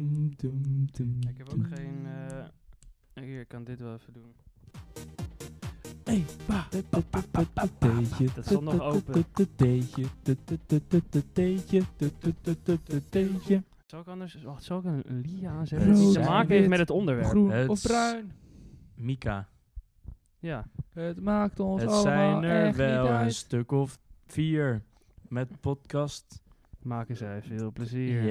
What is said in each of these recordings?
Ik heb ook geen... eh, Hier, ik kan dit wel even doen. Dat stond nog open. Zal ik anders... Wacht, zal ik een een liedje aanzetten? Het die te zijn maken heeft wit, met het onderwerp. Groen of Het- bruin, Mika. Ja. het maakt ons Het allemaal zijn er echt niet wel een uit. stuk of vier. Met podcast. Maken zij veel Ja. plezier.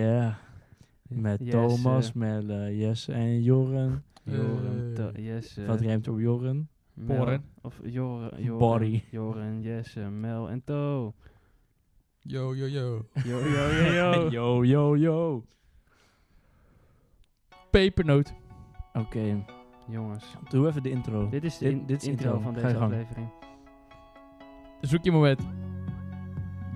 Met Jesse. Thomas, Melle, Jesse en Joren. Eh, Joren, Da- Jesse, Wat rijmt op Joren? Mel- Boren. Of Joren, Joren, Borrie. Joren, Jesse, Mel en To. Yo, yo, yo. Yo, yo, yo, yo. yo, yo, yo. Pepernoot. Oké, Jongens, doe even de intro. dit is de Dit- in- dit is intro, intro. van Ga deze je gang. aflevering. Zoek je moment.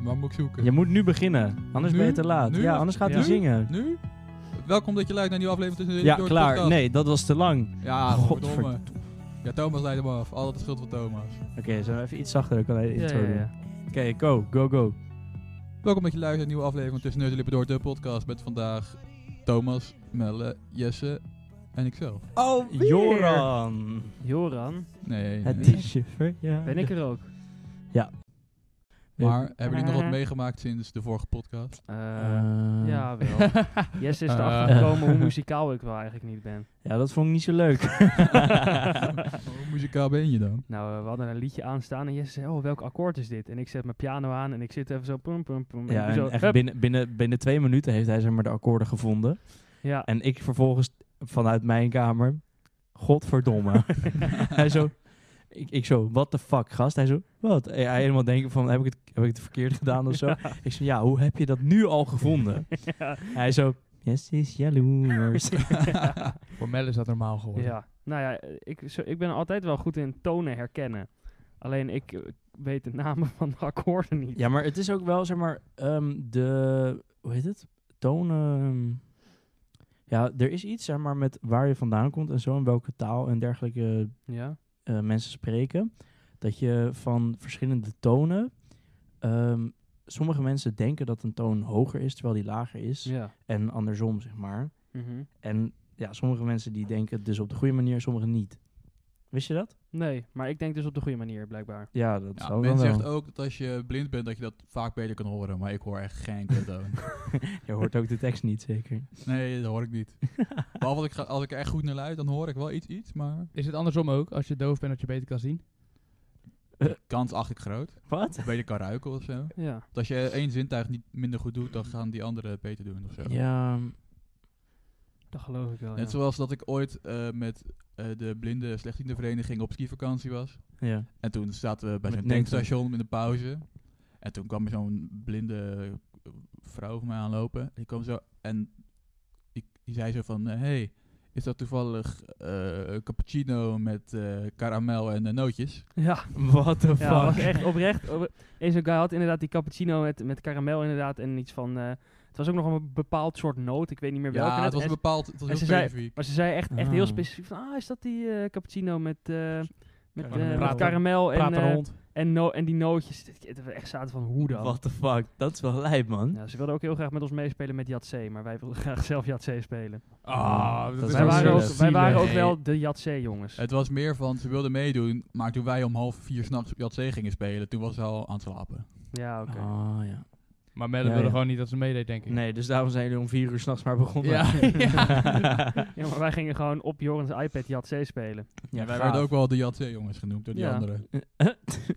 Maar moet ik zoeken? Je moet nu beginnen, anders Nu? ben je te laat. Nu? Ja, anders gaat Ja. hij zingen. Nu? Welkom dat je luistert naar een nieuwe aflevering tussen de Ja, Door de klaar. Podcast. Nee, dat was te lang. Ja, Godverdomme. godverdomme. Ja, Thomas leidt hem af. Altijd de schuld van Thomas. Oké, zijn we even iets zachter, dan kan hij de Ja, intro ja, doen. ja. Oké, go, go, go. Welkom dat je luistert naar een nieuwe aflevering van Tussen Neus en Lippen Door de Podcast. Met vandaag Thomas, Melle, Jesse en ikzelf. Oh, Joran. Joran, Nee, nee, Het nee. is je verjaardag. ben ik er ook? Maar hebben jullie nog wat meegemaakt sinds de vorige podcast? Eh, Eh, ja, wel. Jesse is Eh. erachter gekomen hoe muzikaal ik wel eigenlijk niet ben. ja, dat vond ik niet zo leuk. Hoe muzikaal ben je dan? Nou, eh, we hadden een liedje aanstaan en Jesse zei, oh, welk akkoord is dit? En ik zet mijn piano aan en ik zit even zo... Pum, pum, pum, en ja, doe zo, en echt hup. binnen, binnen, binnen twee minuten heeft hij zeg maar de akkoorden gevonden. Ja, En ik vervolgens vanuit mijn kamer, godverdomme. hij zo, ik, ik zo, what the fuck, gast? Hij zo, wat? Eh, Hij hij helemaal denken van, heb ik het, heb ik het verkeerd gedaan of zo? Ik zo, ja, hoe heb je dat nu al gevonden? Hij zo, yes, is jaloers. Voor Mel is dat normaal geworden. Ja, nou ja, eh, ik, zo, ik ben altijd wel goed in tonen herkennen. Alleen ik eh, weet de namen van de akkoorden niet. ja, maar het is ook wel, zeg maar, ehm, de, hoe heet het? Tonen... Ja, er is iets, zeg maar, met waar je vandaan komt en zo en welke taal en dergelijke Ja? eh, mensen spreken. Dat je van verschillende tonen. ehm, sommige mensen denken dat een toon hoger is terwijl die lager is. Ja. En andersom, zeg maar. Mhm. En ja, sommige mensen die denken het dus op de goede manier, sommigen niet. Wist je dat? Nee, maar ik denk dus op de goede manier, blijkbaar. Ja, dat Ja, zou men dan wel. zegt ook dat als je blind bent dat je dat vaak beter kan horen. Maar ik hoor echt geen enkele toon. Je hoort ook de tekst niet, zeker. Nee, dat hoor ik niet. Behalve als ik, ga- als ik er echt goed naar luister, dan hoor ik wel iets, iets. Maar Is het andersom ook, als je doof bent dat je beter kan zien? kans acht ik groot. Wat? Of beter kan ruiken of zo. Ja. Want als je één zintuig niet minder goed doet, dan gaan die anderen het beter doen of zo. Ja, Dat geloof ik wel, Net zoals dat ik ooit eh, met eh, de blinde slechtziende vereniging op skivakantie was. ja. En toen zaten we bij Met zo'n Nathan. tankstation in de pauze. En toen kwam er zo'n blinde eh, vrouw van mij aanlopen. Die kwam zo en die, die zei zo van... eh, hey, is dat toevallig eh, cappuccino met eh, karamel en eh, nootjes? Ja, What the ja dat was fuck? echt oprecht. Op, Deze guy had inderdaad die cappuccino met, met karamel inderdaad en iets van... eh, het was ook nog een bepaald soort noot, ik weet niet meer welke. Ja, net. het was En een ze- bepaald... Het en was heel ze zei- specifiek. maar ze zei echt, echt heel Ah. specifiek van, ah, is dat die eh, cappuccino met... eh, met, eh, Karamel. met karamel en, Praat eh, een hond. en, no en die nootjes. Dat we echt zaten van, hoe dan? What the fuck? Dat is wel lijp, man. Ja, ze wilden ook heel graag met ons meespelen met Jatse, maar wij wilden graag zelf Jatse spelen. Ah, dat dat is is Wij wel waren, ook, zielig. wij waren ook Nee. wel de Jatse jongens. Het was meer van, ze wilden meedoen, maar toen wij om half vier s'nachts Jatzee gingen spelen, toen was ze al aan het slapen. Ja, oké. Ah, ja. Maar Melle Ja, wilde ja. gewoon niet dat ze meedeed, denk ik. Nee, dus daarom zijn jullie om vier uur s'nachts maar begonnen. Ja, Ja, maar wij gingen gewoon op Jorens iPad Jatse spelen. ja, wij gaaf. werden ook wel de Jatzee jongens genoemd door die Ja. anderen.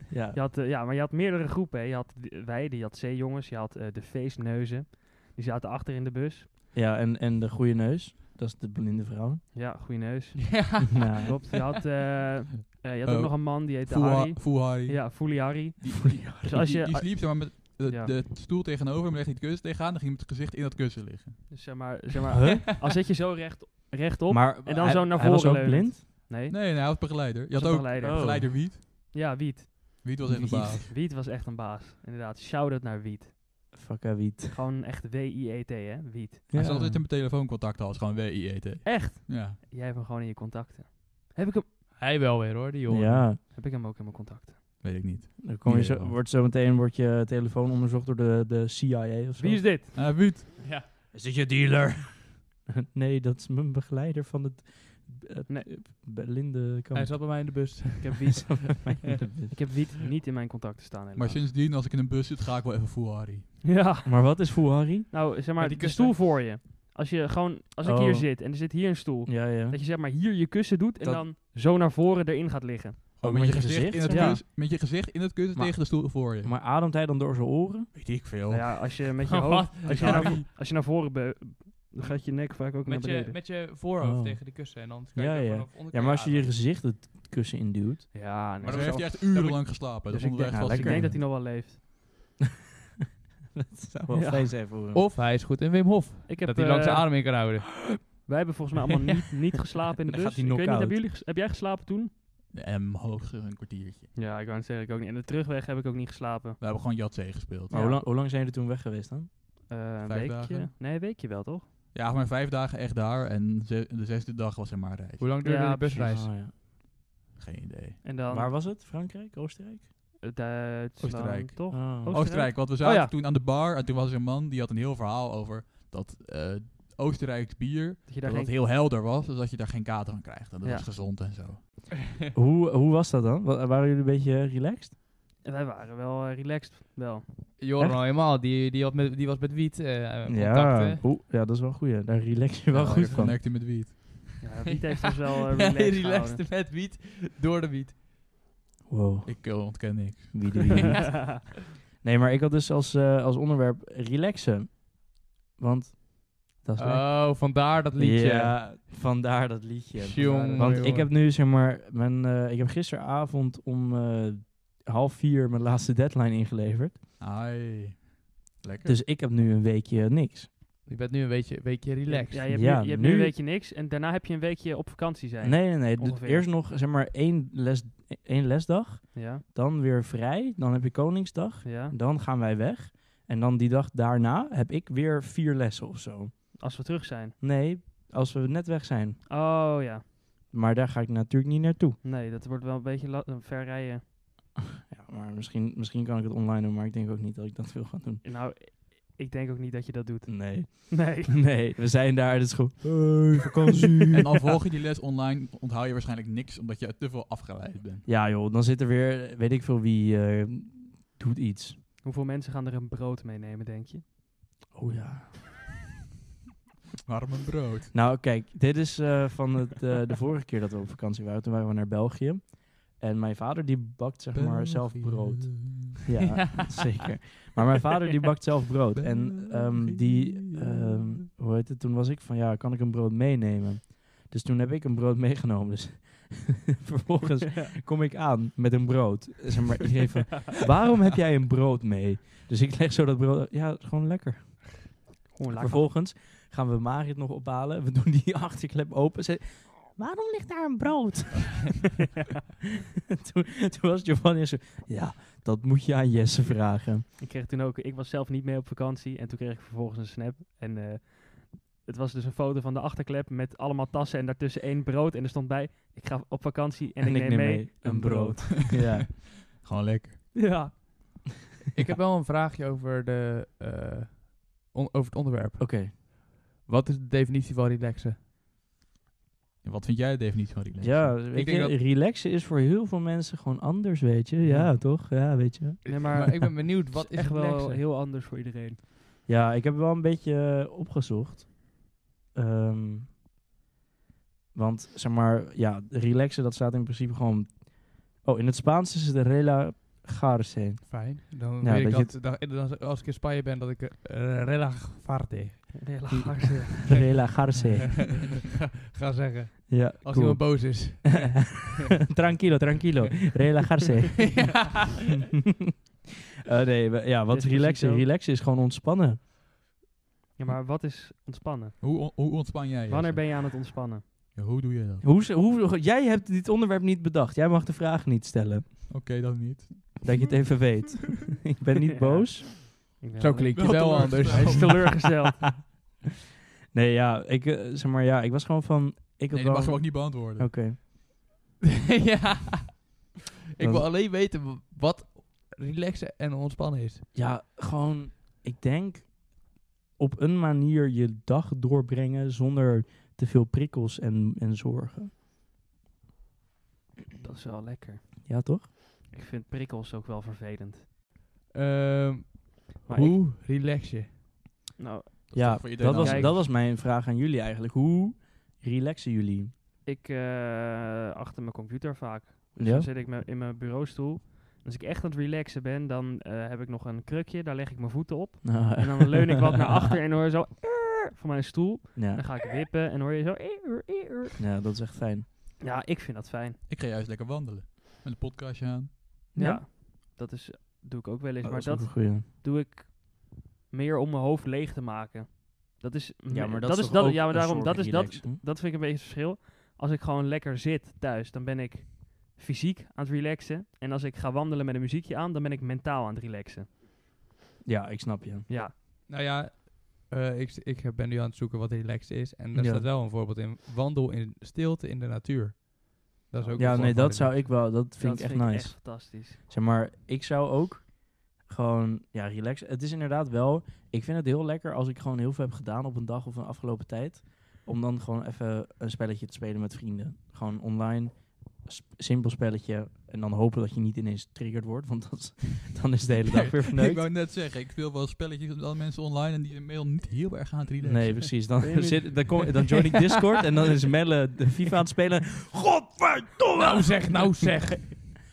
ja. Je had, eh, ja, maar je had meerdere groepen. Hè. Je had de- wij, de Jatse jongens. Je had eh, de feestneuzen. Die zaten achter in de bus. Ja, en, en de goede neus. Dat is de blinde vrouw. Ja, goeie neus. Ja. Ja. Klopt. Je had, eh, eh, je had ook Oh. nog een man, die heette Fuha- Harry. Fuhari. Ja, Foolie Harry. Die, die, Dus als die- je, die als- sliep zeg maar, met de, Ja. de stoel tegenover, maar leg niet kussen tegenaan, dan ging hij met het gezicht in dat kussen liggen. dus zeg maar, zeg maar al zit je zo recht, rechtop. Maar en dan hij- zo naar Hij was voren ook leunend. blind? nee. Nee, nee, hij was begeleider. Je had Zo'n ook begeleider. een begeleider Wiet. Ja, Wiet. Wiet was echt een Oh. Wiet. baas. Wiet was echt een baas. Inderdaad. Shout-out naar Wiet. Fakka wiet. Gewoon echt W-I-E-T, hè? Wiet. Hij is altijd in mijn telefooncontact al, is gewoon W-I-E-T. Echt? Ja. Jij hebt hem gewoon in je contacten. Heb ik hem, Hij wel weer hoor, die jongen. Ja, heb ik hem ook in mijn contacten? Weet ik niet. dan kom je Nee, zo, man. wordt zo meteen wordt je telefoon onderzocht door de, de CIA of zo. Wie is dit? Eh Wiet. Ja. Is dit je dealer? nee, dat is mijn begeleider van het... het Nee. eh, Berlinde kamp. Hij zat bij mij in de bus. Ik heb wiet, Mijn- ik heb wiet niet in mijn contacten staan. Maar helaas. sindsdien, als ik in een bus zit, ga ik wel even full Harry. Ja. maar wat is Full Harry? Nou, zeg maar, Ja, die de kussen. stoel voor je. Als je gewoon, als ik Oh. hier zit en er zit hier een stoel, Ja, ja. dat je zeg maar hier je kussen doet en Dat- dan zo naar voren erin gaat liggen. Oh, met je gezicht, in het zeg maar? kus, met je gezicht in het kussen Maar- tegen de stoel voor je. Maar ademt hij dan door zijn oren? Weet ik veel. Nou ja, als je met je Oh, hoofd, wat? als je, Harry. naar, vo- als je naar voren beu- dan gaat je nek vaak ook Met naar je, beneden. met je voorhoofd Oh. tegen de kussen en dan kan Ja, je ja. Ja, maar als je je gezicht het kussen induwt... Ja, nee, Maar zo- dan heeft hij echt heb ik- urenlang geslapen. dus Dus ik denk, wel ik lekker. denk dat hij nog wel leeft. dat zou wel Ja. fijn zijn voor hem. Of hij is goed in Wim Hof. Ik heb, dat hij lang zijn eh, adem in kan houden. Wij hebben volgens mij allemaal niet, niet geslapen in de Dan bus. gaat hij ik weet niet, knock-out. hebben jullie ges- heb jij geslapen toen? En hoog een kwartiertje. Ja, ik wou het zeggen, ik ook niet. En de terugweg heb ik ook niet geslapen. We hebben gewoon Jatzee gespeeld. Maar Ja. hoe, lang, hoe lang zijn jullie toen weg geweest dan? Eh, een Vijf weekje? dagen? Nee, een weekje wel, toch? Ja, maar vijf dagen echt daar. En ze- de zesde dag was er maar reis. Hoe lang duurde Ja, de busreis? Oh, ja. Geen idee. En dan Waar was het? Frankrijk? Oostenrijk? Duitsland, Oostenrijk. toch? Oh. Oostenrijk? Oostenrijk, want we zaten Oh, ja. toen aan de bar. En toen was er een man die had een heel verhaal over dat eh, Oostenrijks bier. Dat je daar Dat het geen... heel helder was. Dus dat je daar geen kater van krijgt. En dat Ja. was gezond en zo. Hoe, hoe was dat dan? Wa- waren jullie een beetje eh, relaxed? En Wij waren wel eh, relaxed, wel. Joran Echt? helemaal, die, die, had met, die was met wiet eh ja. contacten. Hoe- ja, dat is wel een goeie. Daar relax je wel Ja, goed lekker van. Connecten met wiet. Ja, Wiet heeft ons wel eh, Hij relaxed gehouden. relaxte met wiet door de wiet. Wow. Ik eh, ontken niks. Wie doe je niet? nee, maar ik had dus als, eh, als onderwerp relaxen. Want dat is lekker. Oh, vandaar dat liedje. Ja, vandaar dat liedje. Tjonge, Want jonge. ik heb nu zeg maar, mijn, eh, ik heb gisteravond om eh, half vier mijn laatste deadline ingeleverd. Ai. Lekker. Dus ik heb nu een weekje niks. Je bent nu een beetje, een beetje relaxed. Ja, je hebt, Ja, nu, je hebt nu nu- een weekje niks en daarna heb je een weekje op vakantie zijn. Nee, nee, nee. Dus ongeveer. eerst nog zeg maar één, les, één lesdag, Ja, dan weer vrij, dan heb je Koningsdag, ja. dan gaan wij weg. En dan die dag daarna heb ik weer vier lessen of zo. Als we terug zijn. Nee, als we net weg zijn. Oh ja. Maar daar ga ik natuurlijk niet naartoe. Nee, dat wordt wel een beetje la- een ver rijden. Ja, maar misschien, misschien kan ik het online doen, maar ik denk ook niet dat ik dat wil gaan doen. Nou, ik denk ook niet dat je dat doet. Nee, Nee. nee, we zijn daar, dus gewoon... Hey, vakantie! En al volg je die les online, onthoud je waarschijnlijk niks. Omdat je te veel afgeleid bent. Ja joh, dan zit er weer, eh, weet ik veel wie eh, doet iets. Hoeveel mensen gaan er een brood meenemen, denk je? Oh ja. Warm een brood. Nou kijk, dit is eh, van het, eh, de vorige keer dat we op vakantie waren. Toen waren we naar België. En mijn vader die bakt zeg maar zelf brood. Ja, zeker. Maar mijn vader die bakt zelf brood. En ehm, die, ehm, hoe heet het, toen was ik van ja, kan ik een brood meenemen? Dus toen heb ik een brood meegenomen. Dus vervolgens kom ik aan met een brood. Zeg maar, iedereen van, waarom heb jij een brood mee? Dus ik leg zo dat brood, ja, het is gewoon lekker. Gewoon laat maar. Vervolgens gaan we Marit nog ophalen. We doen die achterklep open. Ze, Waarom ligt daar een brood? toen, toen was Giovanni zo... Ja, dat moet je aan Jesse vragen. Ik kreeg toen ook, ik was zelf niet mee op vakantie en toen kreeg ik vervolgens een snap. En eh, het was dus een foto van de achterklep met allemaal tassen en daartussen één brood. En er stond bij, ik ga op vakantie en, ik, neem mee, een brood. ja. Gewoon lekker. Ja. Ik heb wel een vraagje over, de, eh, on- over het onderwerp. Oké. Wat is de definitie van relaxen? En wat vind jij de definitie van relaxen? Ja, weet denk je, dat- relaxen is voor heel veel mensen gewoon anders, weet je. Ja, Ja. toch? Ja, weet je. Nee, maar, Maar, ik ben benieuwd, wat wat is is Dus echt wel relaxen? heel anders voor iedereen. Ja, ik heb wel een beetje eh, opgezocht. Ehm, want zeg maar, ja, relaxen, dat staat in principe gewoon. Oh, in het Spaans is het relajarse. Fijn. Dan Ja, weet ik dat je dat, dan- eh, dan- als ik in Spanje ben, dat ik eh, eh relajvarte Relaxen. Relajarse. ga zeggen. ja, Als cool. iemand boos is. tranquilo, tranquilo. Relajarse. Eh, nee, we- ja, wat Dit is is precies relaxen? zo. Relaxen is gewoon ontspannen. ja, maar wat is ontspannen? Hoe, on- hoe ontspan jij je? Wanneer ben je aan het ontspannen? Ja, hoe doe je dat? Hoe, ze- hoe, jij hebt dit onderwerp niet bedacht. Jij mag de vraag niet stellen. Oké, dan niet. Dat je het even weet. ik ben niet Ja. boos. Ja, Zo klinkt je Wel wel teleurgesteld. anders. Hij is teleurgesteld. nee, ja, ik, eh, zeg maar, ja, ik was gewoon van... Ik had Nee, dat mag je wel- ook niet beantwoorden. Oké. ja. Ik Dat- wil alleen weten w- wat relaxen en ontspannen is. Ja, gewoon, ik denk op een manier je dag doorbrengen zonder te veel prikkels en, en zorgen. Dat is wel lekker. Ja, toch? Ik vind prikkels ook wel vervelend. Ehm, Maar ik- hoe relax je? nou, is ja, toch voor iedereen dat was, anders? dat was mijn vraag aan jullie eigenlijk. Hoe relaxen jullie? ik eh, achter mijn computer vaak. Dus Ja? dan zit ik me- in mijn bureaustoel. Als ik echt aan het relaxen ben, dan eh, heb ik nog een krukje. Daar leg ik mijn voeten op. Ah. En dan leun ik wat naar achter en hoor je zo... "Eer" van mijn stoel. Ja, Dan ga ik wippen en hoor je zo... "Eer, eer." ja, dat is echt fijn. Ja, ik vind dat fijn. Ik ga juist lekker wandelen. Met een podcastje aan. Ja. Ja. Dat is, doe ik ook wel eens. Oh, maar is ook dat een goeie. doe ik meer om mijn hoofd leeg te maken. Dat is... Ja, maar dat, is, is toch ook ja, maar een daarom, soort dat, is dat, relaxen? dat vind ik een beetje het verschil. Als ik gewoon lekker zit thuis, dan ben ik fysiek aan het relaxen. En als ik ga wandelen met een muziekje aan, dan ben ik mentaal aan het relaxen. Ja, ik snap je. Ja, Nou ja, eh, ik, ik ben nu aan het zoeken wat relax is. En daar Ja. staat wel een voorbeeld in. Wandel in stilte in de natuur. Dat is ook een Ja, vorm nee, van dat zou relax. ik wel. Dat vind dat ik echt nice. fantastisch. Zeg maar, ik zou ook gewoon, ja, relax. Het is inderdaad wel, ik vind het heel lekker als ik gewoon heel veel heb gedaan op een dag of een afgelopen tijd. Om dan gewoon even een spelletje te spelen met vrienden. Gewoon online, sp- simpel spelletje. En dan hopen dat je niet ineens triggerd wordt, want dat, is- dan is de hele dag weer Ik verneukt. wou net zeggen, ik speel wel spelletjes met alle mensen online en die zijn mail niet heel erg aan het relaxen. Nee, precies. Dan, Ben je niet- zit, dan, kom, dan join ik Discord en dan is Melle de FIFA aan het spelen. Godverdomme! Nou zeg, nou zeg.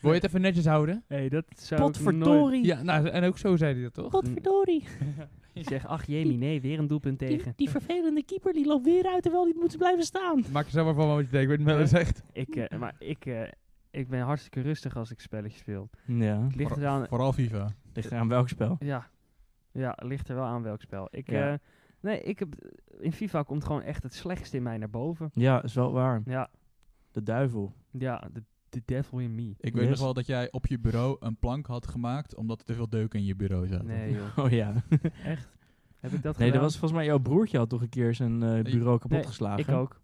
Wil je het even netjes houden? hey, dat zou ik Potverdorie! Ja, nou, en ook zo zei hij dat toch? Potverdorie! nooit... Zeg, ach jemie, nee, weer een doelpunt Die, Mm. tegen. die vervelende keeper die loopt weer uit terwijl die moet blijven staan. Maak er zelf maar van wat je denkt, wat Melle zegt. Ik, eh, maar ik, eh, ik ben hartstikke rustig als ik spelletjes speel. Ja, Het ligt Voor- eraan, Vooral FIFA. ligt eraan welk spel. Ja. Ja, ligt er wel aan welk spel. Ik, Ja. eh, nee, ik heb, in FIFA komt gewoon echt het slechtste in mij naar boven. Ja, is wel waar. Ja, De duivel. ja de, de devil in me. Ik weet Yes. nog wel dat jij op je bureau een plank had gemaakt omdat er te veel deuken in je bureau zaten. Nee joh, Oh ja. echt. Heb ik dat Nee, dat gedaan? was volgens mij jouw broertje had toch een keer zijn eh, bureau kapot geslagen. Oh, Ik ook.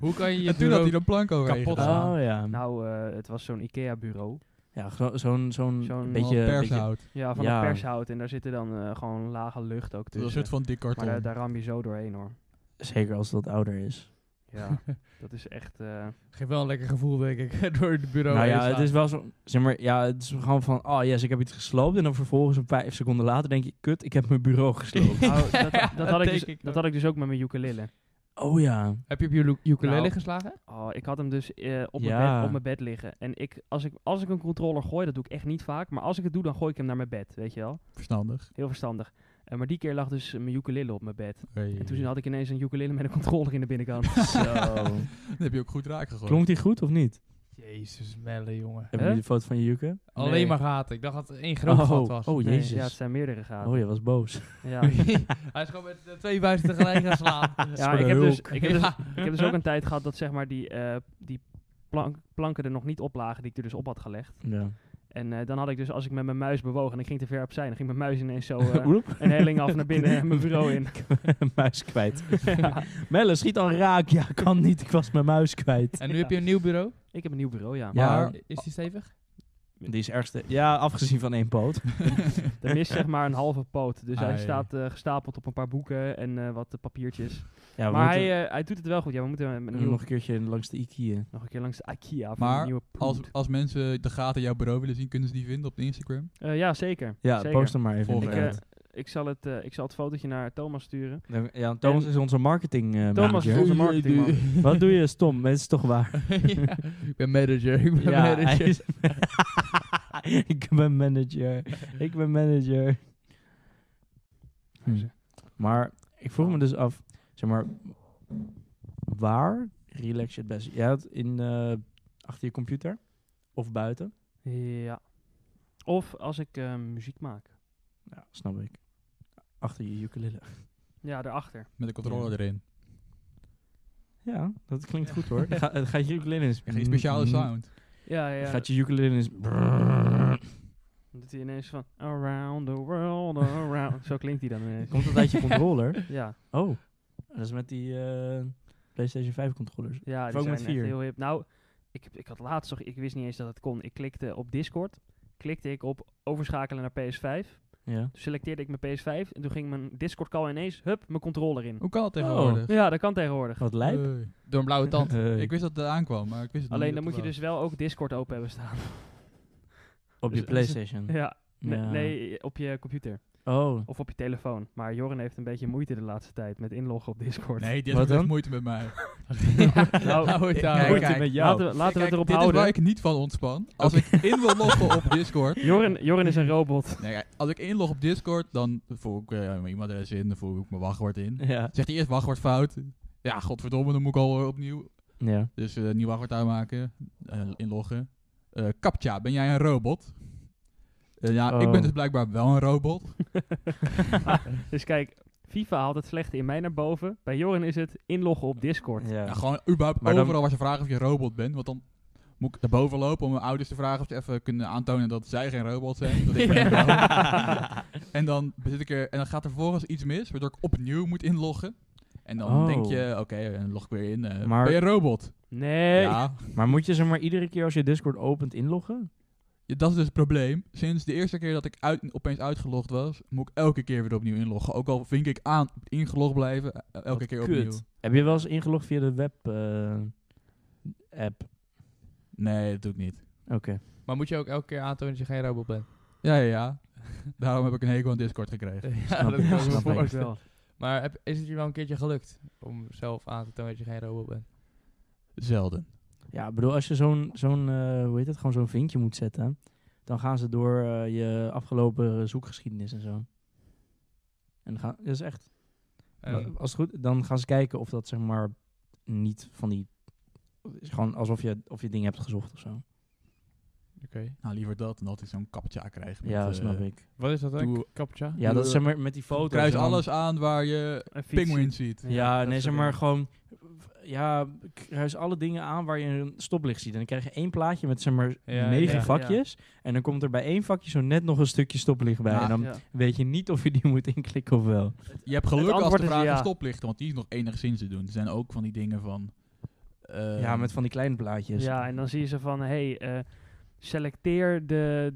Hoe kan je je en toen had hij bureau- een plank overheen kapot gedaan. Oh ja. Nou, eh, het was zo'n Ikea-bureau. ja, zo- zo'n zo'n Zo'n beetje... beetje pershout. Ja, van Ja. een pershout. En daar zitten dan eh, gewoon lage lucht ook Het was een tussen. soort van dik eh, maar karton. daar, daar ram je zo doorheen hoor. zeker als dat ouder is. Ja, dat is echt... eh, Geeft wel een lekker gevoel, denk ik, door het bureau. nou heen ja, het slaan. is wel zo... Zeg maar, ja, het is gewoon van... Oh yes, ik heb iets gesloopt. En dan vervolgens een vijf seconden later denk je... Kut, ik heb mijn bureau gesloopt. nou, dat, dat, dat had ik denk dus, ik dat ook. had ik dus ook met mijn ukulele. oh ja. Heb je op je lu- ukulele Nou. geslagen? Oh, ik had hem dus eh, op, mijn Ja. bed, op mijn bed liggen. En ik, als, ik, als ik een controller gooi, dat doe ik echt niet vaak. Maar als ik het doe, dan gooi ik hem naar mijn bed, weet je wel. Verstandig. Heel verstandig. Eh, maar die keer lag dus eh, mijn ukulele op mijn bed. Hey. En toen had ik ineens een ukulele met een controller in de binnenkant. Zo. Dan heb je ook goed raak gegooid. Klonk die goed of niet? Jezus, Melle, jongen. Hebben jullie de foto van je juke? Alleen Nee. maar gaten. Ik dacht dat het één groot oh, gat was. oh Nee, jezus. ja, het zijn meerdere gaten. oh, je was boos. Ja. Hij is gewoon met de twee vuisten tegelijk gaan slaan. Ja, Voor de ik heb, dus, hulk. ik, heb dus, ik heb dus ook een tijd gehad dat zeg maar die, eh, die plank, planken er nog niet op lagen die ik er dus op had gelegd. Ja. En eh, dan had ik dus, als ik met mijn muis bewoog en ik ging te ver opzij, dan ging mijn muis ineens zo eh, Oep. een helling af naar binnen en mijn bureau in. muis kwijt. Ja. Melle, schiet al raak. Ja, kan niet. Ik was mijn muis kwijt. En nu heb je een nieuw bureau. Ik heb een nieuw bureau, ja. Ja. Maar is die stevig? Die is ergste. Ja, afgezien van één poot. Er mist zeg maar een halve poot. Dus hij Ai. staat eh, gestapeld op een paar boeken en eh, wat eh, papiertjes. Ja, we maar moeten Eh, hij, eh, hij doet het wel goed. Ja, we moeten hem hem opnieuw- nog nog, een keertje langs de IKEA. een keer langs de IKEA voor Maar een nieuwe poot. Als, als mensen de gaten in jouw bureau willen zien, kunnen ze die vinden op Instagram. Eh, ja, zeker. Ja, zeker. post hem maar even. in de Ik, Volg hem. eh, chat. ik, zal het, eh, ik zal het fotootje naar Thomas sturen. Dan- ja, Thomas en- is onze marketing eh, Thomas is manager. onze marketingman. Wat doe je stom? Het is toch waar? Ja, ik ben manager. Ik ben hij manager. is- ik ben manager. Ik ben manager. Hm. Maar ik vroeg me dus af, zeg maar, waar relax je het best? Jij had in, eh, achter je computer of buiten? Ja. Of als ik eh, muziek maak. Ja, snap ik. Achter je ukulele. Ja, daarachter. Met een controller erin. Ja, dat klinkt goed hoor. Ga, het gaat je ukulele Mm-hmm. eens. Echt een speciale sound. Ja, ja. Gaat je ukulele eens. Dan doet hij ineens van around the world, around. Zo klinkt hij dan ineens. Komt dat uit je controller? Ja, Oh, dat is met die eh, PlayStation 5 controllers. ja Of die ook zijn met echt vier. heel hip. Nou, ik, heb- ik had laatst nog, ik wist niet eens dat het kon. Ik klikte op Discord, klikte ik op overschakelen naar PS5. Ja. Toen selecteerde ik mijn PS5 en toen ging mijn Discord call ineens, hup, mijn controller in. Hoe kan dat tegenwoordig? Ja, dat kan tegenwoordig. Wat lijp. Hey. Door een blauwe tand. Eh, Ik wist dat het aankwam, maar ik wist het niet Alleen dan dat moet je het dus wel ook Discord open hebben staan. op die dus- dus- PlayStation. ja. Nee, Ja. nee, op je computer. Oh. Of op je telefoon. Maar Joren heeft een beetje moeite de laatste tijd met inloggen op was. Discord. Nee, die Wat heeft echt dan? moeite met mij. Nou, Hou het daar. Kijk, Moeite kijk. met- Laten we, laten we Kijk, het erop dit is waar houden. ik niet van ontspan. Als ik in wil loggen op Discord. Joren, Joren is een robot. Nee, kijk, als ik inlog op Discord, dan voer ik eh, mijn e-mailadres in, dan voer ik mijn wachtwoord in. Ja. Zegt hij eerst wachtwoord fout. Ja, godverdomme, dan moet ik al eh, opnieuw. Ja. Dus eh nieuw wachtwoord aanmaken, eh, inloggen. Eh Kaptja, ben jij een robot? Eh, ja, ik Oh. ben dus blijkbaar wel een robot. dus kijk, FIFA haalt het slechte in mij naar boven. Bij Joren is het inloggen op Discord. Ja. Ja, gewoon überhaupt Maar dan- overal waar ze vragen of je robot bent. Want dan moet ik naar boven lopen om mijn ouders te vragen of ze even kunnen aantonen dat zij geen robot zijn. Dat ik ben een robot. En dan zit ik er en dan gaat er vervolgens iets mis, waardoor ik opnieuw moet inloggen. En dan Oh. denk je, oké, en log ik weer in. eh, Maar- Ben je een robot? Nee. Ja. Maar moet je ze maar iedere keer als je Discord opent inloggen? Ja, Dat is dus het probleem. Sinds de eerste keer dat ik uit, opeens uitgelogd was, moet ik elke keer weer opnieuw inloggen. Ook al vink ik aan ingelogd blijven, eh, elke Wat keer kut. opnieuw. Heb je wel eens ingelogd via de web eh, app? Nee, dat doe ik niet. Oké. Maar moet je ook elke keer aantonen dat je geen robot bent? Ja, ja, ja. Daarom heb ik een hekel aan Discord Eh. gekregen. ja, ik, kan ik me snap ik. Ook voorstellen. wel. Maar heb- is het je wel een keertje gelukt om zelf aan te tonen dat je geen robot bent? Zelden. Ja, ik bedoel, als je zo'n, zo'n eh, hoe heet het, gewoon zo'n vinkje moet zetten, dan gaan ze door eh, je afgelopen zoekgeschiedenis en zo. En dan gaan, dat is echt, En- als het goed, dan gaan ze kijken of dat zeg maar niet van die, is gewoon alsof je, of je dingen hebt gezocht of zo. Oké. Nou, liever dat dan dat ik zo'n kaptja krijg. met, Ja, eh, snap ik. Wat is dat dan? doe- Captcha? Ja, dat is zeg maar met die foto's. Kruis en dan- alles aan waar je Een fiets. penguin ziet. Ja, dat nee, zeg soort maar dingen. gewoon, ja, kruis alle dingen aan waar je een stoplicht ziet. En dan krijg je één plaatje met zeg maar Ja, negen ja. vakjes. En dan komt er bij één vakje zo net nog een stukje stoplicht bij. Ja. en dan Ja. weet je niet of je die moet inklikken of wel. Je hebt geluk als antwoord de is vraag ja. ja. stoplichten, want die is nog enigszins te doen. Er zijn ook van die dingen van... eh, ja, met van die kleine plaatjes. Ja, en dan zie je ze van, hey, eh, selecteer de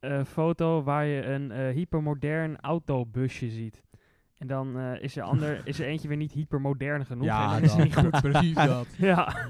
eh, foto waar je een eh, hypermodern autobusje ziet. En dan eh, is, er ander, is er eentje weer niet hypermodern genoeg. en Ja, dan is het dat. niet goed. Precies dat. Ja,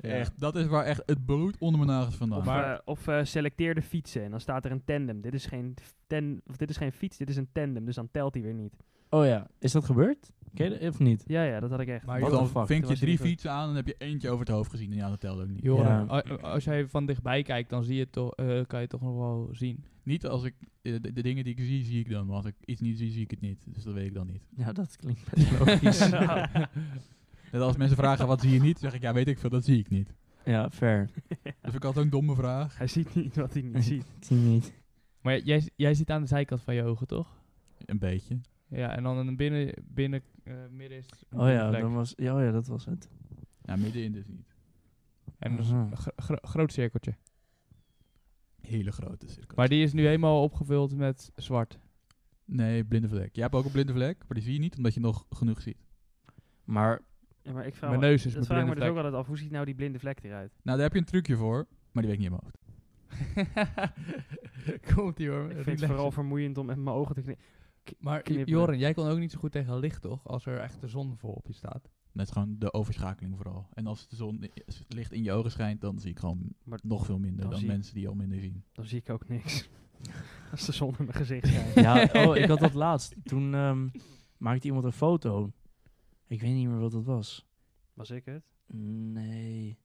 Echt, dat is waar echt het bloed onder mijn nagels vandaan. of, Maar- eh, of eh, selecteer de fietsen en dan staat er een tandem. Dit is geen, ten, of dit is geen fiets, dit is een tandem, dus dan telt hij weer niet. Oh ja, is dat gebeurd? Ken je dat of niet? Ja, ja, dat had ik echt. Maar Want What the dan fuck, vink dat je was drie niet goed. fietsen aan en heb je eentje over het hoofd gezien. En ja, dat telt ook niet. Joren, Ja. a- a- als jij van dichtbij kijkt, dan zie je het toch, eh, kan je het toch nog wel zien. Niet als ik... eh, de, de dingen die ik zie, zie ik dan. Maar als ik iets niet zie, zie ik het niet. Dus dat weet ik dan niet. Nou, dat klinkt best logisch. ja. Net als mensen vragen, wat zie je niet? zeg ik, ja, weet ik veel, dat zie ik niet. fair. Dus ik had ook een domme vraag. Hij ziet niet wat hij niet ziet. Ik zie niet. Maar jij, jij zit aan de zijkant van je ogen, toch? Een beetje. Ja, en dan een binnen, binnen eh, midden is een Oh ja, vlek. dan was, ja, oh ja, dat was het. Ja, middenin dus niet. En dat is een Aha. gro- gro- groot cirkeltje. Hele grote cirkel. Maar die is nu helemaal opgevuld met zwart. Nee, blinde vlek. Jij hebt ook een blinde vlek, maar die zie je niet omdat je nog genoeg ziet. Maar Ja, maar ik vraag Mijn me, neus is dat mijn vraag ik me blinde dus ook vlek. altijd af, hoe ziet nou die blinde vlek eruit? Nou, daar heb je een trucje voor, maar die weet ik niet in mijn hoofd. Komt ie hoor. Ik vind het relax. vooral vermoeiend om met mijn ogen te knippen. Maar knipperen. Joren, jij kan ook niet zo goed tegen licht, toch? Als er echt de zon vol op je staat. Net gewoon de overschakeling vooral. En als de zon i- s- licht in je ogen schijnt, dan zie ik gewoon Maar nog veel minder dan dan, zie- mensen die al minder zien. Dan zie ik ook niks. Als de zon in mijn gezicht schijnt. ja, oh, ik had dat laatst. Toen ehm, maakte iemand een foto. Ik weet niet meer wat dat was. Was ik het? Nee.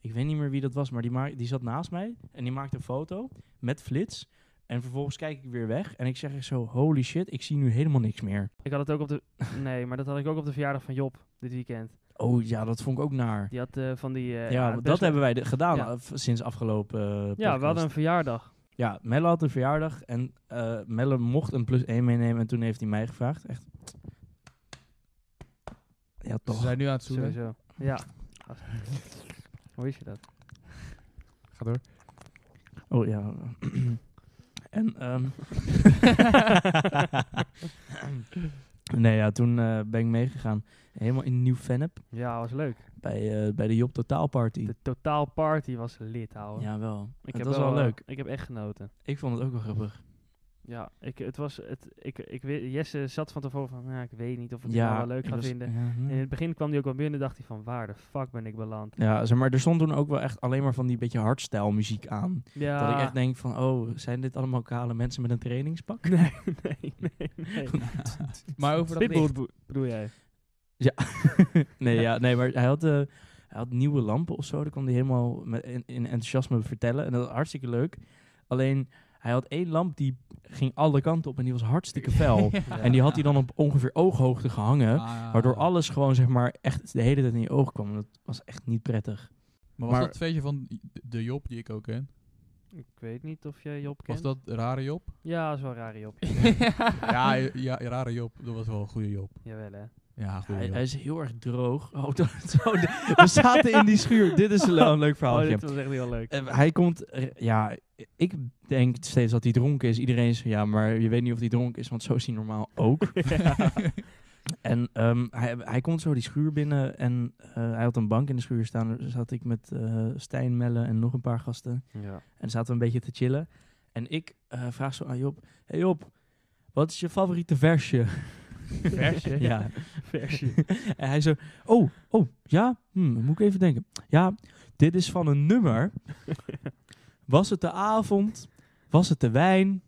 Ik weet niet meer wie dat was, maar die, maak, die zat naast mij en die maakte een foto met flits. En vervolgens kijk ik weer weg en ik zeg echt zo, holy shit, ik zie nu helemaal niks meer. Ik had het ook op de... Nee, maar dat had ik ook op de verjaardag van Job dit weekend. Oh ja, dat vond ik ook naar. Die had eh, van die... eh, ja, best dat wel- hebben wij de- gedaan Ja. eh, v- sinds afgelopen eh, Ja, we podcast. hadden een verjaardag. Ja, Melle had een verjaardag en eh, Melle mocht een plus 1 meenemen en toen heeft hij mij gevraagd. Echt. Ja, Ze toch. zijn nu aan het zoenen. Sowieso. Ja. Als- Hoe is je dat? Ga door. Oh ja. En, ehm, nee, ja, toen eh, ben ik meegegaan. Helemaal in Nieuw-Vennep. Ja, was leuk. Bij, eh, bij de Job Totaal Party. De totaal party was lid, houden. Jawel. Het was wel leuk. Ik heb echt genoten. Ik vond het ook wel grappig. Ja, ik, het was, het, ik, ik, weet- Jesse zat van tevoren van, nou, ik weet niet of ik het ja, nou wel leuk ik ga was- vinden. ja, hm. En ja. in het begin kwam hij ook wel binnen dacht hij van, waar de fuck ben ik beland? Ja, zeg maar, er stond toen ook wel echt alleen maar van die beetje hardstyle muziek aan. Ja. Dat ik echt denk van, oh, zijn dit allemaal kale mensen met een trainingspak? Nee, nee, nee, nee. Maar over dat Pitbull licht. bedo- bedoel jij? nee, ja, nee, maar hij had, eh, hij had nieuwe lampen of zo. Daar kon hij helemaal met, in, in enthousiasme vertellen. En dat was hartstikke leuk. Alleen, hij had één lamp die ging alle kanten op en die was hartstikke fel. En die had hij dan op ongeveer ooghoogte gehangen. Ah. Waardoor alles gewoon, zeg maar, echt de hele tijd in je oog kwam. En dat was echt niet prettig. Maar was Maar- dat feestje van de Job die ik ook ken? Ik weet niet of jij Job Was kent. dat rare Job? Ja, dat is wel een rare Job. ja, ja, rare Job. Dat was wel een goede Job. Jawel, hè. Ja, goede Hij, Job. hij is heel erg droog. Oh, dat- zo, de- we zaten in die schuur. Dit is een, le- een leuk Oh, verhaaltje. dit was echt heel leuk. Eh, hij komt, eh, ja, ik denk steeds dat hij dronken is. Iedereen is, ja, maar je weet niet of hij dronken is, want zo is hij normaal ook. en ehm, hij, hij komt zo die schuur binnen en eh, hij had een bank in de schuur staan. Daar zat ik met eh Stijn, Melle en nog een paar gasten. Ja. En zaten we een beetje te chillen. En ik eh, vraag zo aan Job, hey Job, wat is je favoriete versje? Versje? ja. Versje. En hij zo, oh, oh, ja, hmm, moet ik even denken. Ja, dit is van een nummer. Was het de avond? Was het de wijn?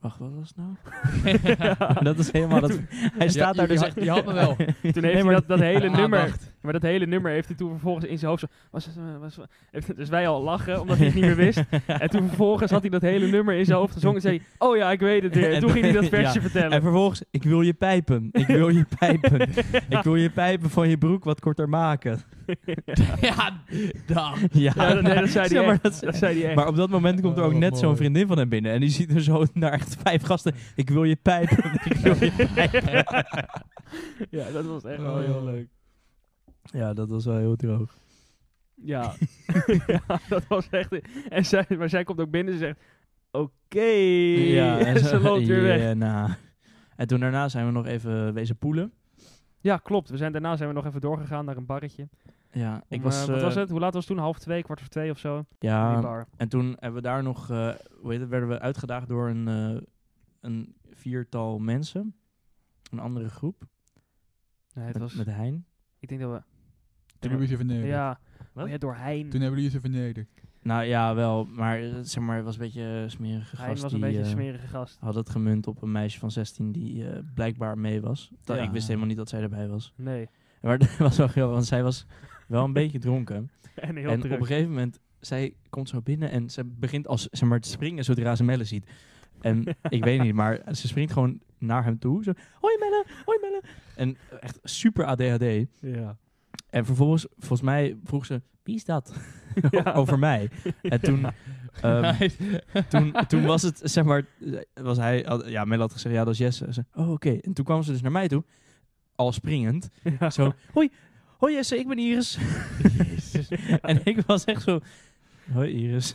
Wacht, wat was het nou? dat is helemaal... Dat, hij staat daar je dus had- echt... je had me wel. Toen Toen heeft hij dat, dat hele Ah, Ja, nummer... aandacht. Maar dat hele nummer heeft hij toen vervolgens in zijn hoofd zo... Was, het, eh, was, heeft- dus wij al lachen, omdat hij het niet meer wist. En toen vervolgens had hij dat hele nummer in zijn hoofd gezongen. En zei hij, oh ja, ik weet het weer. En toen ging hij dat versje En vertellen. vervolgens, ik wil je pijpen. Ik wil je pijpen. ik wil je pijpen van je broek wat korter maken. ja, dan. Ja, Ja, dat, nee, dat zei Zeg hij maar, echt. dat- Dat zei hij echt. Maar op dat moment komt er ook Oh, net mooi. zo'n vriendin van hem binnen. En die ziet er zo naar echt vijf gasten. Ik wil je pijpen. Ik wil je pijpen. ja, dat was echt wel Oh, heel leuk. Ja, dat was wel heel droog. Ja. ja, dat was echt... En zij, maar zij komt ook binnen en zegt... Oké. en ze loopt weer weg. Ja, nou. En toen daarna zijn we nog even wezen poelen. Ja, klopt. We zijn, daarna zijn we nog even doorgegaan naar een barretje. Ja, ik Om, was... eh, wat eh, was het? Hoe laat was het toen? Half twee, kwart voor twee of zo? In die Ja, bar. en toen hebben we daar nog... eh, hoe heet het, werden we uitgedaagd door een, eh, een viertal mensen. Een andere groep. Nee, het met, was, met Hein. ik denk dat we... Toen hebben jullie ze vernederd. Ja, Wat? oh ja door Hein. Toen hebben jullie ze vernederd. Nou ja, wel. Maar eh, zeg maar, het was een beetje een smerige gast. Hein was een die, beetje een eh, smerige gast. Had het gemunt op een meisje van 16 die eh, blijkbaar mee was. Dat, Ja. Ik wist helemaal niet dat zij erbij was. Nee. Maar dat was wel grappig, want zij was wel een beetje dronken. En heel en druk. op een gegeven moment, zij komt zo binnen en ze begint als, zeg maar, te springen zodra ze Melle ziet. En ik weet niet, maar ze springt gewoon naar hem toe. Zo, hoi Melle, hoi Melle. En echt super ADHD. Ja. En vervolgens, volgens mij, vroeg ze, wie is dat? Ja. Over mij. En toen, ehm, toen, toen was het, zeg maar, was hij, had- ja, Melle had gezegd, ja, dat is Jesse. Ze, oh, oké. En toen kwam ze dus naar mij toe, al springend. Ja. Zo, hoi, hoi Jesse, ik ben Iris. En ik was echt zo, hoi Iris.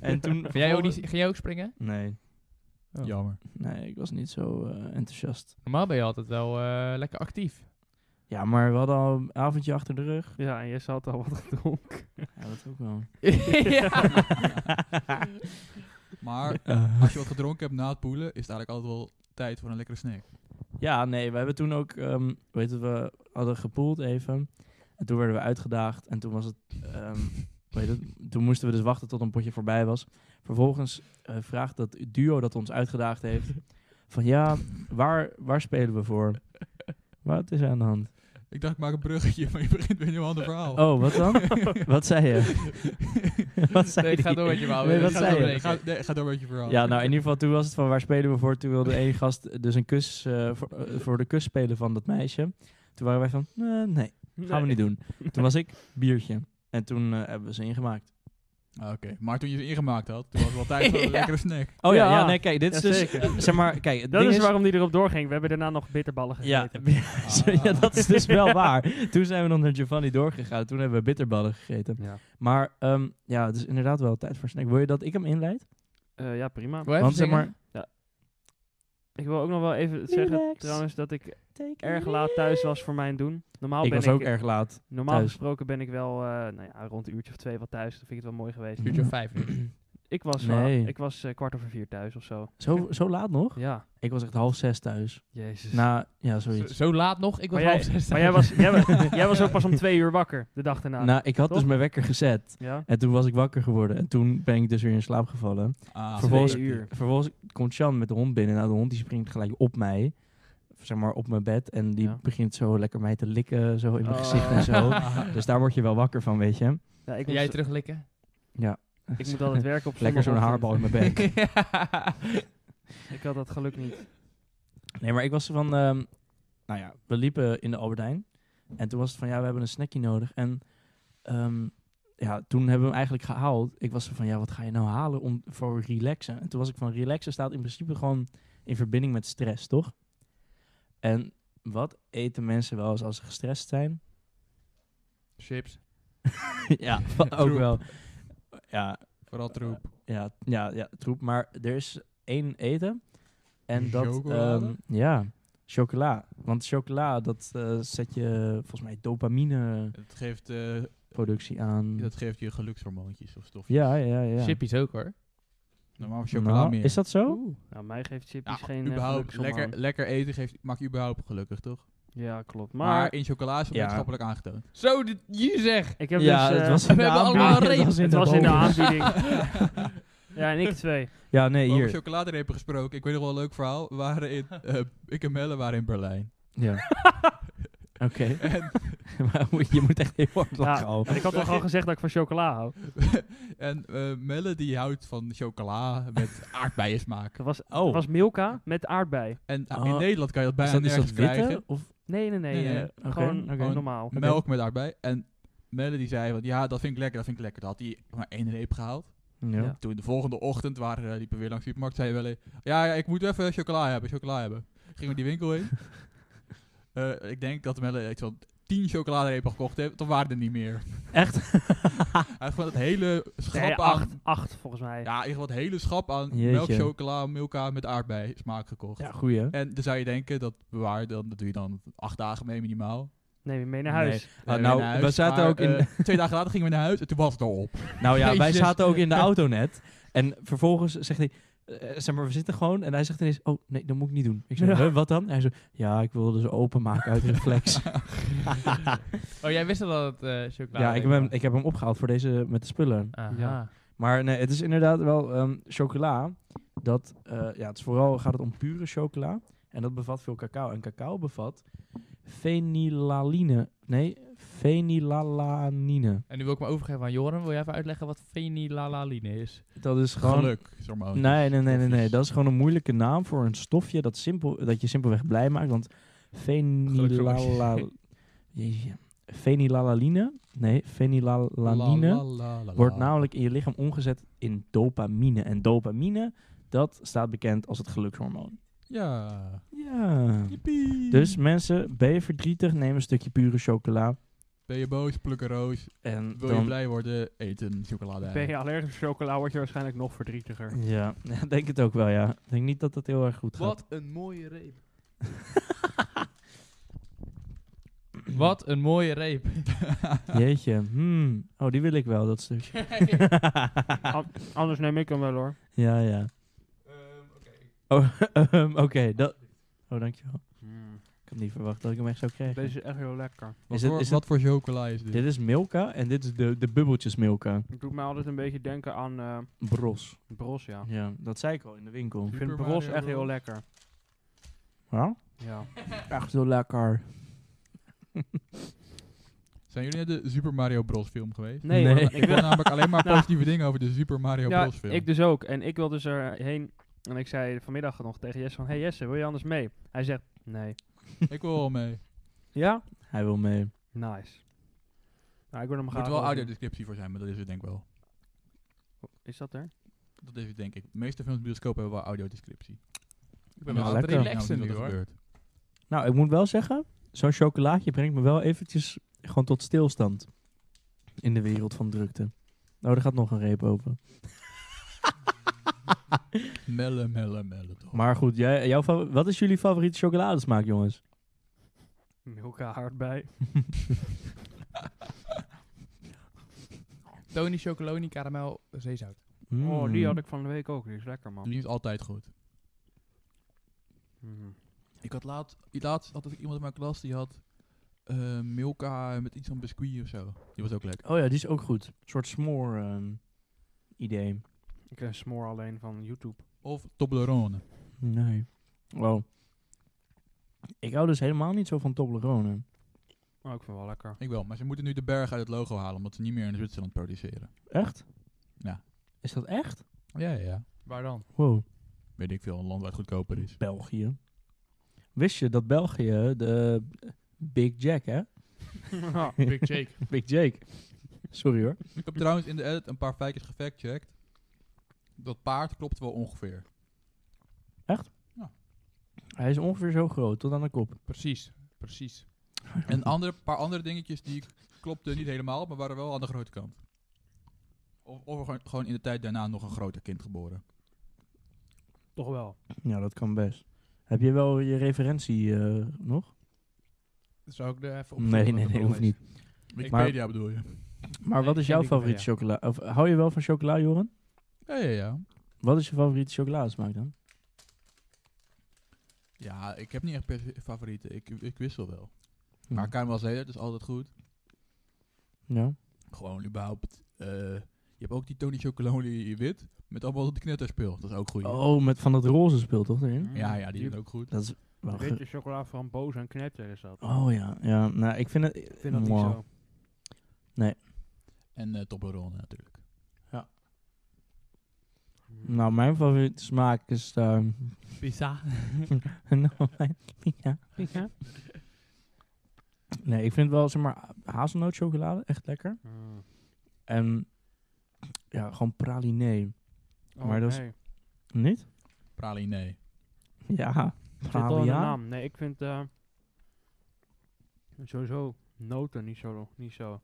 En toen... Ga jij, ook niet, ga jij ook springen? Nee, Oh. Jammer. nee, ik was niet zo eh, enthousiast. Normaal ben je altijd wel eh, lekker actief. Ja, maar we hadden al een avondje achter de rug. ja, en Jesse had al wat gedronken. Ja, dat ook wel. ja. Maar Eh, als je wat gedronken hebt na het poelen, is het eigenlijk altijd wel tijd voor een lekkere snack. ja, nee, we hebben toen ook, ehm weet je, we hadden gepoeld even. En toen werden we uitgedaagd. En toen was het, ehm, weet je, toen moesten we dus wachten tot een potje voorbij was. Vervolgens eh, vraagt dat duo dat ons uitgedaagd heeft, van ja, waar, waar spelen we voor? Wat is er aan de hand? Ik dacht, ik maak een bruggetje, maar je begint weer een heel ander verhaal. Oh, wat dan? wat zei je? wat zei Nee, ga die? door met je verhaal. Nee, We wat gaan zei je? doorbreken. Ga, nee, ga door met je verhaal. Ja, nou in ieder geval toen was het van waar spelen we voor? Toen wilde één gast dus een kus eh, voor, eh, voor de kus spelen van dat meisje. Toen waren wij van, eh, nee, gaan we niet doen. Toen was ik biertje. En toen eh, hebben we ze ingemaakt. Ah, Oké, maar toen je ze ingemaakt had, toen was het wel tijd voor een Ja. lekkere snack. Oh ja, Ja. ja, nee, kijk, dit is Ja, dus, zeker. eh, zeg maar, kijk, het Dat ding is waarom die erop doorging. We hebben daarna nog bitterballen Ja, gegeten. zo, Ah. ja, dat is dus wel waar. Toen zijn we nog naar Giovanni doorgegaan. Toen hebben we bitterballen gegeten. Ja. Maar ehm, ja, het is inderdaad wel tijd voor snack. Wil je dat ik hem inleid? Eh, ja, prima. Wil je even Want zeg zingen? maar, Ik wil ook nog wel even zeggen Relax. trouwens dat ik erg laat thuis was voor mijn doen. Normaal ik ben was ik, ook erg laat. Normaal thuis. gesproken ben ik wel eh, nou ja, rond een uurtje of twee wel thuis. Dat vind ik het wel mooi geweest. Uurtje of vijf. uur. Mm. Ik was, Nee. wel- ik was eh, kwart over vier thuis of zo. Zo, zo laat nog? Ja, Ik was echt half zes thuis. jezus. Na, ja, Zo, zoiets. zo laat nog? Ik was Maar jij- half zes. maar jij was, jij, wa- jij was ook pas om twee uur wakker de dag daarna. Nou, ik had dus Toch? mijn wekker gezet. ja? En toen was ik wakker geworden. En toen ben ik dus weer in slaap gevallen. Ah, Vervolgens- oké. uur. Vervolgens komt Sjan met de hond binnen. Nou, de hond die springt gelijk op mij. Zeg maar op mijn bed. En die Ja. begint zo lekker mij te likken. Zo in mijn Oh. gezicht en zo. Dus daar word je wel wakker van, weet je. Ja, ik, Wil jij moet, teruglikken? Ja. ik moet altijd werken op Lekker zo'n zondagochtend. haarbal in mijn bek. Ik had dat geluk niet. Nee, maar ik was van... ehm, nou ja, we liepen in de Albert Heijn. En toen was het van, ja, we hebben een snackie nodig. En ehm, ja, toen hebben we hem eigenlijk gehaald. Ik was van, ja, wat ga je nou halen om, voor relaxen? En toen was ik van, relaxen staat in principe gewoon in verbinding met stress, toch? En wat eten mensen wel eens als ze gestrest zijn? Chips. ja, ook wel. Ja, Vooral troep. ja, ja, ja, troep. Maar er is één eten. En dat... Chocolade? ehm, ja, chocola. Want chocola, dat eh, zet je volgens mij dopamine Dat geeft, eh, productie aan. dat geeft je gelukshormoontjes of stofjes. Hm. Ja, ja, ja. Chippies ook hoor. Normaal Nou, chocola meer. Is dat zo? Oeh. Nou, mij geeft Ja, chippies geen eh, überhaupt, gelukshormoon. lekker, lekker eten geeft, maakt überhaupt gelukkig, toch? Ja, klopt. Maar, Maar, in chocola is het Ja. wetenschappelijk aangetoond. Zo, dit, je zeg. ik heb ja, dus... eh, het was we in de Oh, hebben aanbieding. allemaal Het reep. was in het de was in de boven. aanbieding. ja, en ik twee. Ja, nee, Over hier. chocoladerepen gesproken, ik weet nog wel een leuk verhaal. We waren in, eh, ik en Melle waren in Berlijn. Ja. Oké. En, Maar moet- je moet echt heel hard lachen Ja, al. en ik had toch al gezegd dat ik van chocola hou. en eh, Melle die houdt van chocola met aardbeien smaak. Dat was, Oh. was Milka met aardbei. En ah, Oh. in Nederland kan je dat Is bijna dat, is dat nergens witte? krijgen. Of, Nee, nee, nee. Nee, eh, nee. Oké, Gewoon, oké. gewoon normaal. Melk met aardbei. En Melle die zei van, ja, dat vind ik lekker, dat vind ik lekker. Dat had hij maar één reep gehaald. ja. Ja. Toen de volgende ochtend waren eh, liepen we weer langs de supermarkt. Zei wel, ja, ja, ik moet even chocola hebben, chocola hebben. Gingen we die winkel in. Eh, ik denk dat Melle iets van tien chocoladerepen gekocht heeft. Dan waren er niet meer. Echt? Hij had gewoon het hele schap Nee, aan... acht, acht volgens mij. Ja, in ieder geval het hele schap aan Jeetje. melk, chocola, milka met aardbei smaak gekocht. Ja, goeie. hè? En dan zou je denken, dat bewaar je dan, dat doe je dan acht dagen mee minimaal. Neem je mee naar huis. Ah, Eh, nou, naar huis, we zaten maar, ook in- eh, twee dagen later gingen we naar huis en toen was het al op. Nou ja, wij Jezus. zaten ook in de auto net. En vervolgens zegt hij, eh, zeg maar, we zitten gewoon. En hij zegt ineens, oh nee, dat moet ik niet doen. Ik zeg, Ja. "Huh, wat dan? Hij zegt, ja, ik wilde ze openmaken uit reflex. Oh, jij wist al dat het eh, chocolade ja, ik heb, hem, ik heb hem opgehaald voor deze met de spullen. Aha. Ja. Maar nee, het is inderdaad wel ehm, chocola. Dat, eh, ja, het is vooral gaat het om pure chocola. En dat bevat veel cacao. En cacao bevat fenilaline. Nee, fenilalanine. En nu wil ik me overgeven aan Joren. Wil jij even uitleggen wat fenilalaline is? Dat is gewoon Geluk, zo'n moment. Nee, nee, nee, nee, nee. Stofjes. Dat is gewoon een moeilijke naam voor een stofje dat, simpel, dat je simpelweg blij maakt. Want fenilala... Jeetje. fenilalaline, nee, fenilalanine La, la, la, la, wordt la. namelijk in je lichaam omgezet in dopamine. En dopamine, dat staat bekend als het gelukshormoon. Ja. Ja. Jippie. Dus mensen, ben je verdrietig, neem een stukje pure chocola. Ben je boos, pluk een roos. En Wil je dan... blij worden, eet een chocolade. Ben je allergisch voor chocola, word je waarschijnlijk nog verdrietiger. Ja, ja, denk het ook wel, ja. Ik denk niet dat dat heel erg goed gaat. een mooie reep. wat een mooie reep. Jeetje. Hmm. Oh, die wil ik wel, dat stuk. Anders neem ik hem wel hoor. Ja, ja. Oh, ehm, oké. dat... Oh, dankjewel. Ik had niet verwacht dat ik hem echt zou krijgen. Hmm. Deze is echt heel lekker. Wat, Is het- voor, is wat voor chocola is dit? Dit is Milka en dit is de, de bubbeltjes Milka. Het doet mij altijd een beetje denken aan eh, Bros. bros, ja. Ja, dat zei ik al in de winkel. Ik Super vind bros Mario echt heel Bros. lekker. Ja? Ja. Echt zo lekker. Zijn jullie naar de Super Mario Bros film geweest? Nee, Nee. hoor, Ik ik hoor wil... namelijk alleen maar Nou. positieve dingen over de Super Mario Ja, Bros film. ik dus ook. En ik wil dus erheen. En ik zei vanmiddag nog tegen Jesse van... Hey Jesse, wil je anders mee? Hij zegt, nee. ik wil wel mee. Ja? Hij wil mee. Nice. Nou, ik wil hem Er graag... moet wel ook doen. audiodescriptie voor zijn, maar dat is het denk ik wel. Is dat er? Dat is het denk ik. De meeste films in de bioscoop hebben wel audiodescriptie. Ik ben Ja, wel aan het lekker. relaxen Nou, nu wat er hoor. gebeurt. Nou, ik moet wel zeggen, zo'n chocolaatje brengt me wel eventjes gewoon tot stilstand. In de wereld van drukte. Oh, er gaat nog een reep open. Melle, melle, melle. Toch. Maar goed, jij, jouw fa- wat is jullie favoriete chocoladesmaak, jongens? Milka aardbei. Tony Chocoloni, karamel, zeezout. Oh, die Mm. had ik van de week ook. Die is lekker, man. Hmm. Die is altijd goed. Mhm. Ik had laatst, laatst had ik iemand in mijn klas die had eh, Milka met iets van biscuit of zo. Die was ook lekker. Oh ja, die is ook goed. Een soort smoor ehm, idee. Ik ken Smoor alleen van YouTube. Of Toblerone. Nee. Wow. Ik hou dus helemaal niet zo van Toblerone. Oh, ik vind het wel lekker. Ik wel, maar ze moeten nu de berg uit het logo halen, omdat ze niet meer in Zwitserland produceren. Echt? Ja. Is dat echt? Oh, Ja, ja, ja. Waar dan? Wow. Weet ik veel, een land waar het goedkoper is. België. Wist je dat België de eh, Big Jack, hè? Big Jake. Big Jake. Sorry hoor. Ik heb trouwens in de edit een paar feitjes gefactcheckt. Dat paard klopt wel ongeveer. Hij is ongeveer zo groot, tot aan de kop. Precies, precies. En andere, paar andere dingetjes die klopten niet helemaal, maar waren wel aan de grote kant. Of, of gewoon- gewoon in de tijd daarna nog een groter kind geboren. Toch wel. Ja, dat kan best. Heb je wel je referentie eh, nog? Zou ik er even op Nee, nee, nee, hoeft niet. Wikipedia bedoel je? Maar wat ik is ken jouw die wel, favoriete ja. chocola? Of hou je wel van chocola, Joren? Ja, ja, ja. Wat is je favoriete chocoladesmaak dan? Ja, ik heb niet echt per se favorieten. Ik, ik wissel wel. Hm. Maar Kamer was Zeedert is altijd goed. Ja. Gewoon überhaupt. eh, je hebt ook die Tony Chocolonely wit. Met allemaal de knetterspeel. Dat is ook goed. Oh, met van dat roze speelt toch erin? Ja, ja, die is ook goed. Dat is wel Een ge- beetje chocola van boos en knepter is dat. Oh ja, ja. Nou, ik vind het... Ik vind dat niet Mwah. zo. En eh Toblerone natuurlijk. Nou, mijn favoriete smaak is... ehm, Pizza. nou, mijn- ja. Ja? Nee, ik vind wel, zeg maar, hazelnootchocolade echt lekker. Mm. En ja, gewoon pralinee. Oh, Maar dat is- nee. Niet? Praline. Ja, Zit al in de pralia. naam. Nee, ik vind eh, sowieso noten niet zo, niet zo.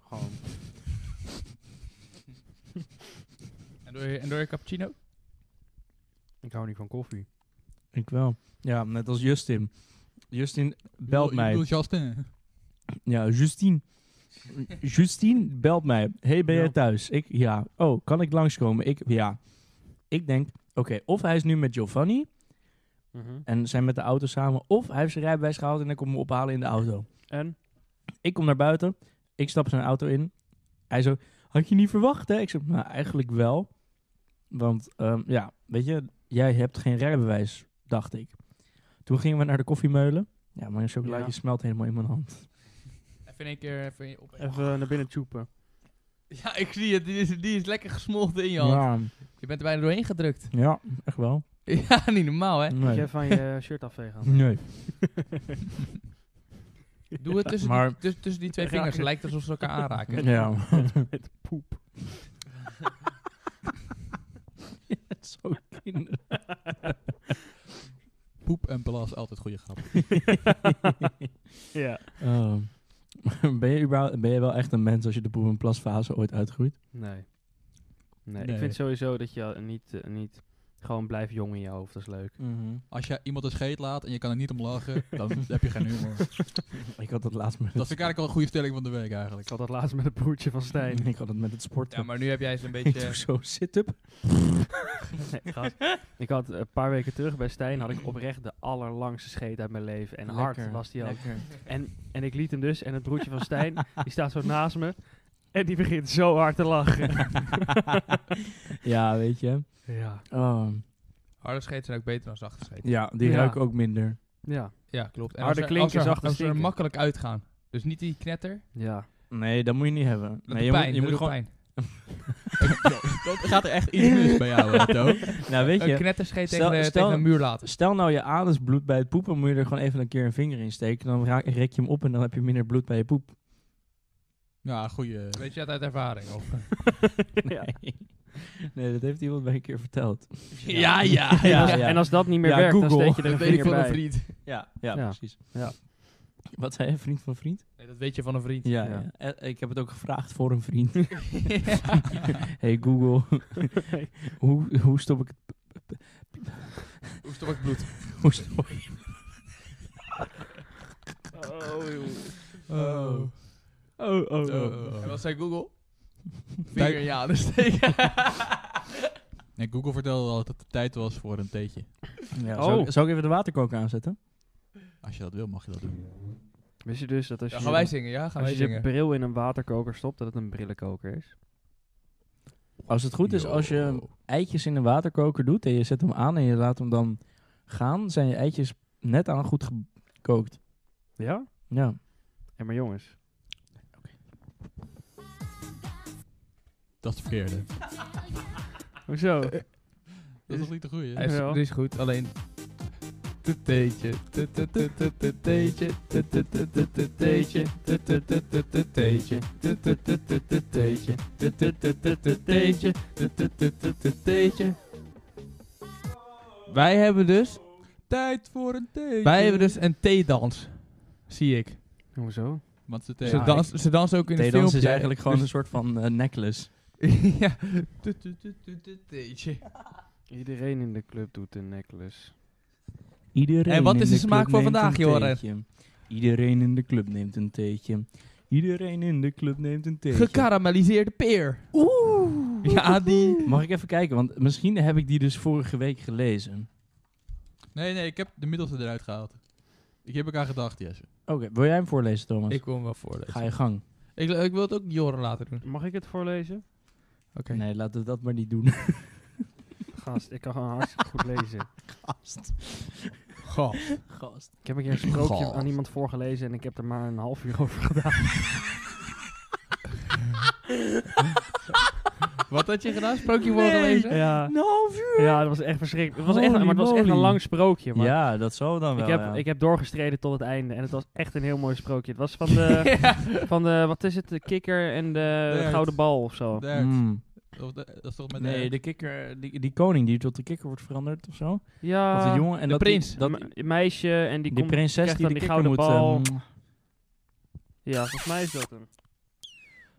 Gewoon. En door, je, en door je cappuccino? Ik hou niet van koffie. Ik wel. Ja, net als Justin. Justin, belt mij. Ik bedoel Justin. Ja, Justine. Justine belt mij. Hey, ben jij Ja. thuis? Ik, ja. Oh, kan ik langskomen? Ik, ja. Ik denk, oké, of hij is nu met Giovanni Mhm. en zijn met de auto samen, of hij heeft zijn rijbewijs gehaald en hij komt me ophalen in de auto. En? Ik kom naar buiten, ik stap zijn auto in. Hij zo, had je niet verwacht, hè? Ik zeg, nou, eigenlijk wel. Want, ehm, ja, weet je, jij hebt geen rijbewijs, dacht ik. Toen gingen we naar de koffiemeulen. Ja, mijn chocolaatje Ja. smelt helemaal in mijn hand. Even in één keer even op. Even naar binnen tjoepen. Ja, ik zie het. Die is, die is lekker gesmolten in je hand. Ja, Je bent er bijna doorheen gedrukt. ja, echt wel. Ja, niet normaal, hè? Moet Nee. je van je shirt afvegen? Nee. Doe het tussen, Maar- die, tussen, tussen die twee Ja. vingers. Het lijkt alsof ze elkaar aanraken. Ja. Met poep. Zo kinder. Poep en plas, altijd goede grap. Ja. Oh. ben, je überhaupt- ben je wel echt een mens als je de poep- en plasfase ooit uitgroeit? Nee. Nee, Nee. ik vind sowieso dat je eh, niet, eh, niet gewoon blijft jong in je hoofd. Dat is leuk. Mhm. Als je iemand een scheet laat en je kan er niet om lachen, dan heb je geen humor. Ik had dat laatst met Dat vind ik eigenlijk al een goede stelling van de week eigenlijk. Ik had dat laatst met het broertje van Stijn. het, ik had dat met het sporten. Ja, maar nu heb jij zo'n ik doe beetje... zo sit-up. Nee, gast. ik had een paar weken terug bij Stijn had ik oprecht de allerlangste scheet uit mijn leven. En hard was die ook. En, en ik liet hem dus. En het broertje van Stijn, die staat zo naast me. En die begint zo hard te lachen. ja, weet je. ja. Oh. Harde scheet zijn ook beter dan zachte scheet. Ja, die Ja. ruiken ook minder. Ja. Ja, klopt. Harde als er- klinken, als er- zachte Als ze er stinken. makkelijk uitgaan. Dus niet die knetter. Ja. Nee, dat moet je niet hebben. Dat nee, doet je pijn. moet, je moet dat doet gewoon... pijn. Dat gaat er echt iets mis bij jou, hè, Toon. Nou, weet Een je. knetterscheet stel- tegen, de- stel- tegen een muur laten. Stel nou je anus bloed bij het poepen, moet je er gewoon even een keer een vinger in steken. Dan raak, rek je hem op en dan heb je minder bloed bij je poep. Ja, goede. Weet je dat uit ervaring? Of? ja. Nee. nee, dat heeft iemand mij een keer verteld. Ja, ja. En, Ja, als, ja. en als dat niet meer Ja, werkt, Google. dan steek je er een Dat weet ik vinger van een bij. vriend. Ja, ja, Ja. precies. Ja. Wat zei je, vriend van vriend? Nee, dat weet je van een vriend. Ja, Ja. ja. Eh, ik heb het ook gevraagd voor een vriend. hey Google, hoe, hoe stop ik het? Hoe stop ik bloed? Hoe stop ik Oh, Oh. oh, oh. En wat zei Google? Vinger in je anus steken. Nee, Google vertelde al dat het tijd was voor een theetje. Ja, Oh. zal, ik- zal ik even de waterkoker aanzetten? Als je dat wil, mag je dat doen. Wist je dus dat als je, Ja, gaan wij zingen, ja? Gaan als wij je je zingen. bril in een waterkoker stopt, dat het een brillenkoker is? Als het goed is, Yo. als je eitjes in de waterkoker doet en je zet hem aan en je laat hem dan gaan, zijn je eitjes net aan goed gekookt. Ja? Ja. En maar jongens. Dat is het verkeerde. Hoezo? Dat is niet de goede. Hij is, Ja. dit is goed, alleen... Teetje, teetje, teetje, teetje, teetje, teetje, teetje, teetje, teetje, teetje, teetje, teetje, teetje, teetje, teetje, teetje, teetje, teetje, teetje. Wij hebben dus, Tijd voor een theetje. wij hebben dus een theedans, zie ik. Hoezo? Want ze Ze, thee. Ja, dans, ze dansen ook in het Theedans filmpje. is eigenlijk gewoon een Dus- soort van eh, necklace. ja. Tu- tu- tu- tu- tu- Theetje. Iedereen in de club doet een necklace. Iedereen En wat in is de club smaak voor neemt vandaag, een Joren? theetje. Iedereen in de club neemt een theetje. Iedereen in de club neemt een theetje. Gekarameliseerde peer. Oeh. Ja, die... Mag ik even kijken, want misschien heb ik die dus vorige week gelezen. Nee, nee, ik heb de middelste eruit gehaald. Ik heb ik aan gedacht, Jesse. Oké, wil jij hem voorlezen, Thomas? Ik wil hem wel voorlezen. Ga je gang. Ik, ik wil het ook Joren laten doen. Mag ik het voorlezen? Oké. Nee, laten we dat maar niet doen. Gast, ik kan gewoon hartstikke goed lezen. Gast. Goh. Gast. Ik heb een keer een sprookje Gast. aan iemand voorgelezen en ik heb er maar een half uur over gedaan. Wat had je gedaan? Sprookje voorgelezen? Ja, Een half uur. ja dat was echt verschrikkelijk. Het was echt, Holy maar het was echt een moly. lang sprookje. Maar Ja, dat zal dan wel. ik, heb, ja. ik heb doorgestreden tot het einde en het was echt een heel mooi sprookje. Het was van de, van de wat is het, de kikker en de Dert. gouden bal of zo. Dert. Mm. Of de- dat is toch met Nee, de... de kikker, die, die koning die tot de kikker wordt veranderd of zo. Ja, Of de jongen en de dat prins. Die, dat, me- meisje en die, die, komt- prinses krijgt die dan de die kikker gouden moet... bal. eh, mm. Ja, volgens mij is dat hem.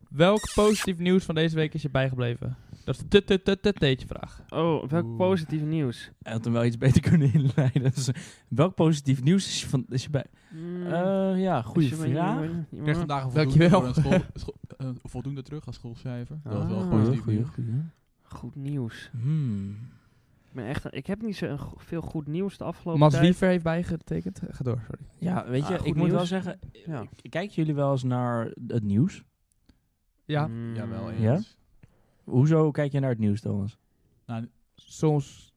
Welk positief nieuws van deze week is je bijgebleven? Dat is de teetje vraag. Oh, welk Oeh. positief nieuws. Hij had hem wel iets beter kunnen inleiden. Dus, eh, welk positief nieuws is je, van, is je bij... Mm, Eh, ja, goede is je maar- vraag. je- je- Ik kreeg vandaag een voldoende, Dankjewel. voor een school, school- eh, voldoende terug als schoolcijfer. Dat was wel Ah. positief nieuws. goeie. Goed nieuws. Hmm. Ik, ben echt, ik heb niet zo een go- veel goed nieuws de afgelopen Mas tijd. Liever heeft bijgetekend. Ga door, sorry. Oh, Ja, weet Ah, je, goed ik moet nieuws. wel zeggen... eh, Ja. k- Kijken jullie wel eens naar het nieuws? Ja. Mm, Jawel, eens. Ja? Hoezo kijk je naar het nieuws, Thomas? Nou, Soms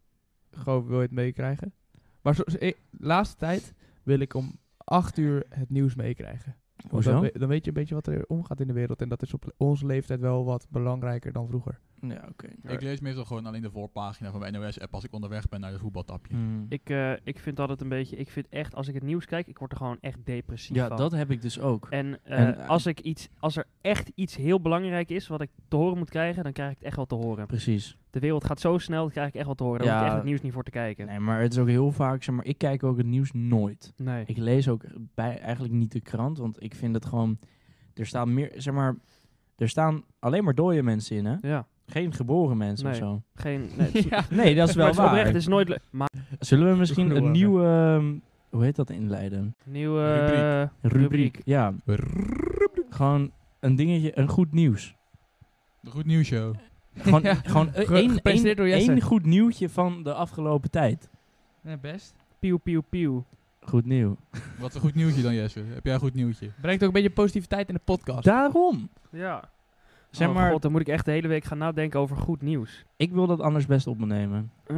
gewoon wil je het meekrijgen. Maar zo, zo- ik- laatste tijd wil ik om acht uur het nieuws meekrijgen. Want Dan, Hoezo? we- dan weet je een beetje wat er omgaat in de wereld. En dat is op le- onze leeftijd wel wat belangrijker dan vroeger. Ja, oké. Ik lees meestal gewoon alleen de voorpagina van mijn NOS-app als ik onderweg ben naar het voetbaltapje. Hmm. Ik, eh, ik vind altijd een beetje... Ik vind echt, als ik het nieuws kijk, ik word er gewoon echt depressief Ja, van. dat heb ik dus ook. En, eh, En, eh, als, ik iets, als er echt iets heel belangrijk is wat ik te horen moet krijgen, dan krijg ik het echt wel te horen. Precies. De wereld gaat zo snel, dat krijg ik echt wel te horen. Daar Ja. hoef ik echt het nieuws niet voor te kijken. Nee, maar het is ook heel vaak, zeg maar, ik kijk ook het nieuws nooit. Nee. Ik lees ook bij, eigenlijk niet de krant, want ik vind het gewoon, er staan meer, zeg maar, er staan alleen maar dode mensen in, hè? Ja, Geen geboren mensen Nee. of zo. geen... Nee, het is- Nee, dat is maar het is wel oprecht, waar. het is nooit... le- Maar Zullen we misschien een Goedemorgen. nieuwe, ehm, hoe heet dat inleiden? nieuwe... Rubriek. eh, rubriek. Ja, gewoon een dingetje, een goed nieuws. De Goed Nieuws Show. Gewoon, Ja, gewoon eh, ge- één, gepresenteerd één- door Jesse. één goed nieuwtje van de afgelopen tijd. Ja, best. Piu, piu, piu. Goed nieuw. Wat een goed nieuwtje dan, Jesse. Heb jij een goed nieuwtje? Brengt ook een beetje positiviteit in de podcast. Daarom. Ja. Zeg oh maar, god, dan moet ik echt de hele week gaan nadenken over goed nieuws. ik wil dat anders best op me nemen. Eh,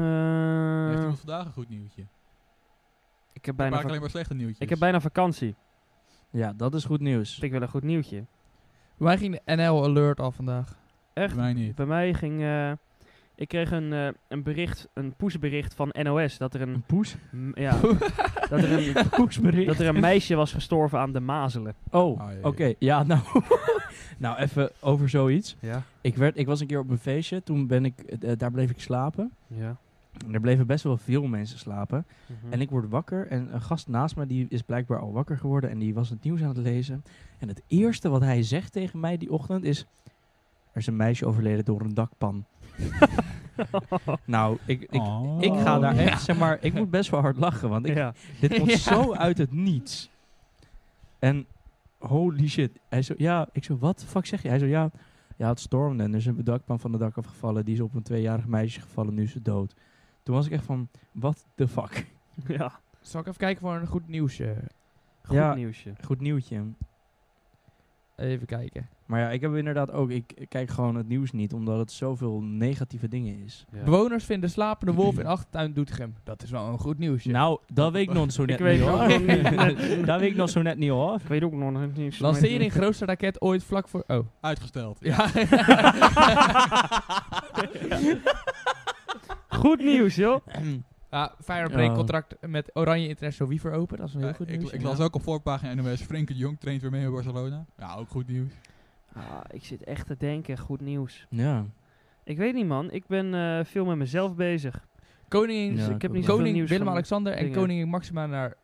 Heeft iemand vandaag een goed nieuwtje? ik, heb Bijna bijna maak vak- alleen maar slechte nieuwtjes. ik heb bijna vakantie. Ja, dat is goed nieuws. Ik wil een goed nieuwtje. Bij mij ging de NL Alert al vandaag. Echt? Mij niet. Bij mij ging... eh, ik kreeg een, eh, een bericht, een pushbericht van NOS, dat er een... Een poes? m- ja, dat, er een Poesbericht. dat er een meisje was gestorven aan de mazelen. Oh, Ah, jee. oké. Ja, nou. nou, even over zoiets. Ja. Ik, werd, ik was een keer op een feestje. Toen ben ik, eh, daar bleef ik slapen. Ja. En er bleven best wel veel mensen slapen. En ik word wakker en een gast naast me die is blijkbaar al wakker geworden en die was het nieuws aan het lezen. En het eerste wat hij zegt tegen mij die ochtend is: Er is een meisje overleden door een dakpan. nou, ik, ik, Oh. ik ga daar echt, zeg maar, ik moet best wel hard lachen, want ik, ja. dit komt Ja. zo uit het niets. En holy shit. Hij zo, ja, ik zo, wat de fuck zeg je? Hij zo, ja, ja het stormde en er is een dakpan van de dak afgevallen. Die is op een tweejarig meisje gevallen, nu is ze dood. Toen was ik echt van, what the fuck? ja, Zal ik even kijken voor een goed eh, nieuwsje? goed Ja. nieuwsje. Goed nieuwtje. Even kijken. Maar ja, ik heb inderdaad ook, ik ik kijk gewoon het nieuws niet, omdat het zoveel negatieve dingen is. Ja. Bewoners vinden slapende wolf in achtertuin Doetinchem. Dat is wel een goed nieuwsje. Nou, dat weet ik nog zo net Ik weet niet hoor. ook nog niet. dat weet ik nog zo net niet hoor. Ik weet ook nog niet. eens. Lancering grootste raket ooit vlak voor... Oh. Uitgesteld. Ja. Goed nieuws, joh. ja Feyenoord Ja. breekt Ah, contract met Oranje International Wiever open. Dat is een heel goed ik, nieuws. ik las Ja. ook op voorpagina NOS, Frenkie de Jong traint weer mee bij Barcelona. Ja, ook goed nieuws. Ah, ik zit echt te denken, goed nieuws. Ja. Ik weet niet, man. Ik ben eh, veel met mezelf bezig. Koningin Dus Ja, ik ik heb ook niet zoveel wel. Koning nieuws van- Willem-Alexander en dingen. koningin Maxima naar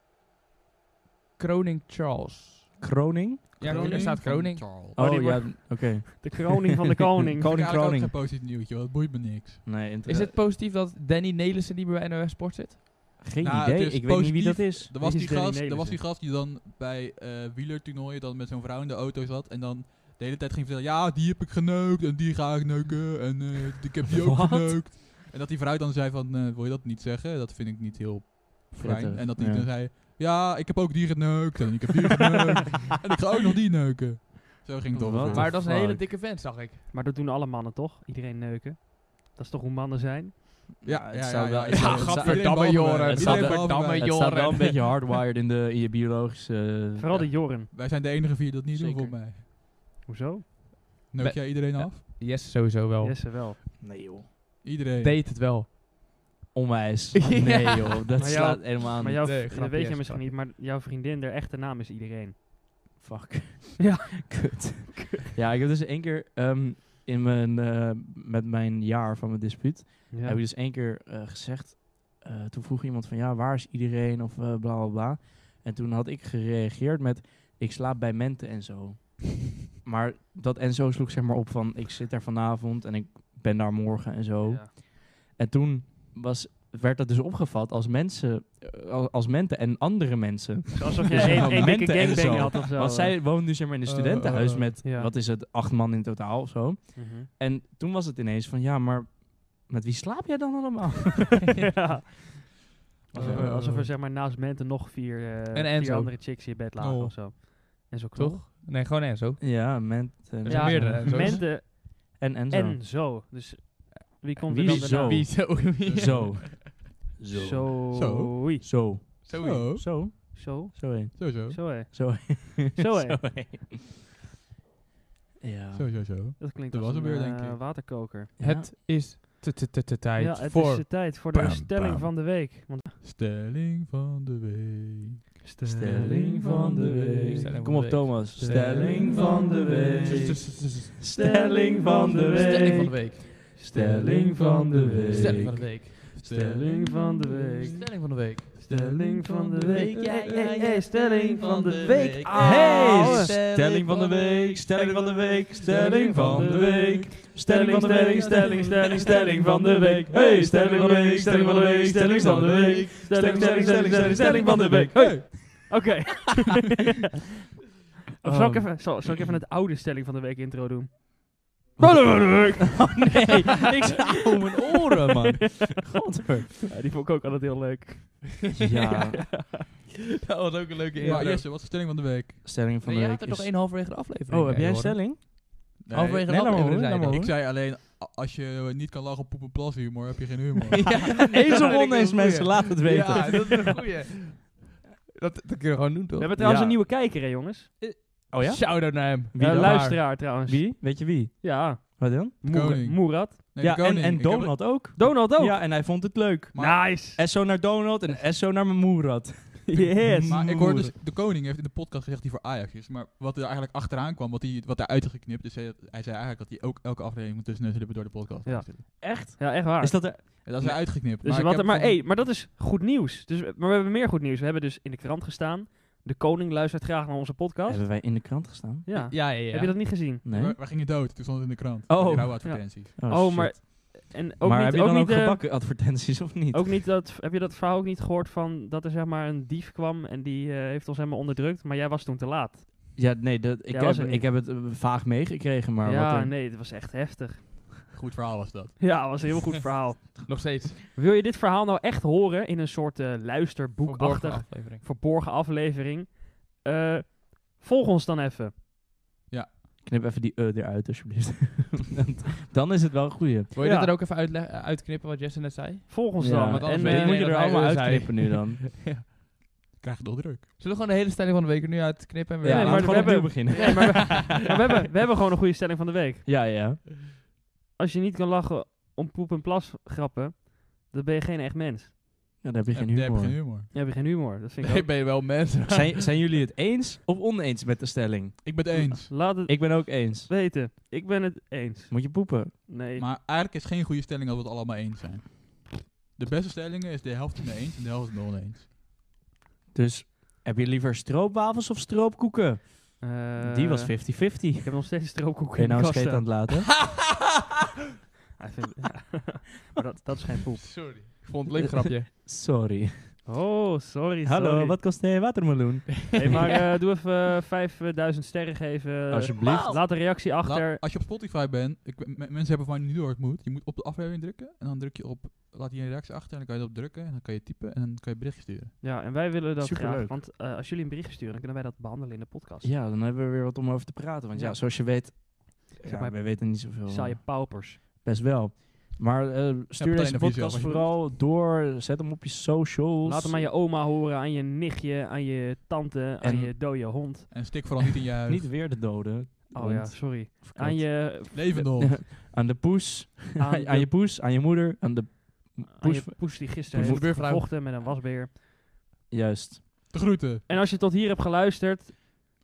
Kroning Charles. Kroning? Ja, er staat Kroning. Charles. Oh, Oh, die ja, wordt- oké. De kroning van de koning. Koning Koning Kroning. Kroning. geen positief nieuwtje, want dat boeit me niks. Nee, Is inter- het positief dat Danny Nelissen niet meer bij NOS Sport zit? Geen Nou, het idee. is Ik weet niet wie dat is. Er was, Dit die is Danny gast, er was Nelissen. die gast die dan bij eh wielertoernooien dan met zo'n vrouw in de auto zat en dan de hele tijd ging vertellen, ja, die heb ik geneukt en die ga ik neuken en eh, ik heb die ook Wat? geneukt. En dat die vrouw dan zei van, eh, wil je dat niet zeggen? Dat vind ik niet heel fijn. Prettig, En dat die ja. dan zei, ja, ik heb ook die geneukt en ik heb die geneukt en ik ga ook nog die neuken. Zo ging het Wat? ongeveer. Maar dat is een fuck? hele dikke vent, zag ik. Maar dat doen alle mannen toch? Iedereen neuken. Dat is toch hoe mannen zijn? Ja, het ja, zou ja, wel- ja, het zou- ja, het zou- gadverdamme, Iedereen Joren. behalve- Iedereen het staat- behalve verdamme, mij. joh. Het staat wel een Joren. beetje hardwired in, de, in je biologische... Vooral de Joren. Wij zijn de enige vier die dat niet doen, Zeker. volgens mij. Hoezo? Neuk Be- jij iedereen Ja. af? Yes, sowieso wel. Jesse wel. Nee joh. Iedereen. Deed het wel. Onwijs. Ja. Nee joh, dat Maar jou- slaat helemaal Maar niet. jouw, Nee, dat grapje, weet je yes, misschien niet, maar jouw vriendin, haar echte naam is iedereen. Fuck. Ja. Kut. Ja, ik heb dus één keer ehm, in mijn, eh, met mijn jaar van mijn dispuut, Ja. heb ik dus één keer eh, gezegd, eh, toen vroeg iemand van ja, waar is iedereen of eh, bla bla bla. En toen had ik gereageerd met, ik slaap bij Mente en zo. maar dat en zo sloeg zeg maar op van, ik zit daar vanavond en ik ben daar morgen en zo. Ja. En toen was, werd dat dus opgevat als mensen, eh, al- als menten en andere mensen. Alsof je Dus één van één dikke momenten en gangbang zo. had of zo. Want zij woont nu zeg maar in een Eh, studentenhuis eh, met, ja. wat is het, acht man in totaal of zo. Mhm. En toen was het ineens van, ja, maar met wie slaap jij dan allemaal? ja. Alsof, er, Oh. alsof er zeg maar naast Mente nog vier, eh, En vier Enzo. andere chicks in je bed lagen Knol. of zo. En zo knol. Toch? Nee, gewoon Enzo. ja, ment en Er zijn Ja, meerdere Enzo's. Mente en en zo. en zo. Dus wie komt Wie er dan zo? daarna? Wie zo? Wie- Zo. Zo. Zo. Zo. Oei. Zo. Zo. Zo. Zo. Zo heen. Zo, zo. Zo hé. Zo Zo hé. Ja. Zo, zo, zo. Dat klinkt Dat als was een hem weer, eh, denk ik. waterkoker. Het is te- te- te- te Ja, tijd het is voor de tijd voor de Bam, stelling bam. van de week. Want Stelling van de week. Stelling van de week. Stelling Kom van op de Thomas. Stelling van de week. Stelling van de Stelling van de week. week. Stelling van de week. Stelling van de week. Stelling van de week. Stelling van de week. Stelling van de week. Ja, ja, Hey, hey, ja. hey, stelling van de week. Ah, Hey, ouwe. stelling van de week, stelling van de week, stelling van de week. Stelling van de week, stelling, stelling, stelling van de week. Hey, stelling van de week, stelling van de week, stelling van de week. Stelling, stelling, stelling, stelling, stelling van de week. Hey. Oké. Of zal ik, Oh. even, zal, zal ik even het oude stelling van de week intro doen? Stelling van de week. Oh nee, ik hou mijn oren, man. Godver. Ja, die vond ik ook altijd heel leuk. Ja, Dat was ook een leuke Ja, intro. Jesse, wat is de stelling van de week? stelling Nee, jij had er nog één halverwege de aflevering. Oh, heb jij een stelling? Halverwege de Nee, laat maar aflevering horen, zei laat hij. Ik zei alleen, a- als je eh, niet kan lachen op poep en plas humor, heb je geen humor. Ja, Eens of dat vind ik oneens, een mensen, goeie. laat het weten. Ja, dat is een goeie. Dat, dat kun je gewoon doen, We toch? hebben trouwens Ja. een nieuwe kijker, hè, jongens. Oh ja? Shout-out naar hem. Wie Eh, dan? luisteraar trouwens. Wie? Weet je wie? Ja, Wat dan? Moer- Koning. Moerad. Nee, Ja, de en, koning. en Ik heb het- Donald ook. Donald ook. Nou, Ja, en hij vond het leuk. maar- nice. SO naar Donald en SO naar mijn moerad. Yes. Maar ik hoorde dus, de koning heeft in de podcast gezegd die voor Ajax is. Maar wat er eigenlijk achteraan kwam, wat, hij, wat daaruit is geknipt. Dus hij, hij zei eigenlijk dat hij ook elke aflevering moet tussen neus en lippen door de podcast. Ja. moest zitten. Echt? Ja, echt waar. Is dat er... En dat is Nee. uitgeknipt. dus ik wat, heb maar, van- hey, maar dat is goed nieuws. Dus, maar we hebben meer goed nieuws. We hebben dus in de krant gestaan. De koning luistert graag naar onze podcast. Hebben wij in de krant gestaan? Ja. Ja, ja, ja. Heb je dat niet gezien? Nee. we, we gingen dood, toen stond het in de krant. Oh. Die rouwadvertenties. Oh, shit. maar- En ook maar niet, heb je ook dan niet, ook eh, gebakken advertenties of niet? ook niet dat, heb je dat verhaal ook niet gehoord van dat er zeg maar een dief kwam en die eh, heeft ons helemaal onderdrukt, maar jij was toen te laat. Ja, nee, dat, ik, Ja, heb, was er niet. ik heb het eh, vaag meegekregen, maar wat ja, een- nee, dat was echt heftig. Goed verhaal was dat. Ja, dat was een heel goed verhaal. Nog steeds. Wil je dit verhaal nou echt horen in een soort eh, Verborgen luisterboekachtig aflevering. verborgen aflevering? Eh, volg ons dan even. knip even die eh eruit alsjeblieft. dan is het wel een goeie. Wil je Ja. dat er ook even uitle- eh, uitknippen wat Jesse net zei? Volg ons Ja, dan. En, want anders eh, weet Dit moet je dat er hij allemaal eh, zei. uitknippen nu dan. Krijg je het druk. Zullen we gewoon de hele stelling van de week er nu uitknippen? En weer Ja, laten maar we we gewoon opnieuw hebben- nee, beginnen. maar we, maar we, hebben, we hebben gewoon een goede stelling van de week. Ja, ja. Als je niet kan lachen om poep en plas grappen, dan ben je geen echt mens. Ja, daar heb je geen Daar heb je humor. geen humor. Dan heb je geen humor. Dat vind ik Nee, ook. ben je wel mensen. zijn, zijn jullie het eens of oneens met de stelling? Ik ben het eens. Laat het Ik ben ook eens. weten. Ik ben het eens. Moet je poepen? Nee. Maar eigenlijk is het geen goede stelling als we het allemaal eens zijn. De beste stellingen is de helft het mee eens en de helft het mee oneens. Dus heb je liever stroopwafels of stroopkoeken? Eh, die was 50-50. Ik heb nog steeds stroopkoeken Kun je in de nou een kast scheet aan staan. het laten? Hij vindt- maar dat, dat is geen poep. Sorry. Ik vond het een leuk grapje. Sorry. Oh, sorry, Hallo, sorry. wat kost een watermeloen? Hey, maar eh, doe even eh, 5000 sterren geven. Alsjeblieft. Laat een reactie achter. Laat- als je op Spotify bent, ik, ben- me- mensen hebben van nu door het moet. Je moet op de aflevering drukken en dan druk je op, laat hier een reactie achter en dan kan je erop drukken en dan kan je typen en dan kan je berichtje sturen. Ja, en wij willen dat Superleuk. graag. Want eh, als jullie een bericht sturen, dan kunnen wij dat behandelen in de podcast. Ja, dan hebben we weer wat om over te praten. Want ja, Ja. zoals je weet... Zeg Ja, maar, wij weten niet zoveel. eh, Saaie paupers. Best wel. Maar eh, Ja, meteen stuur deze even jezelf, podcast als je vooral door. Zet hem op je socials. Laat hem aan je oma horen, aan je nichtje, aan je tante, aan En- je dode hond. En stik vooral niet in je huis. Niet weer de doden. Oh Want- ja, sorry. of kat. Aan je... Levende hond. aan de poes. Aan, Aan, de- aan je poes. Aan je moeder. Aan de aan poes. je poes die gisteren poes- heeft buurvrouw. gevochten met een wasbeer. Juist. De groeten. En als je tot hier hebt geluisterd,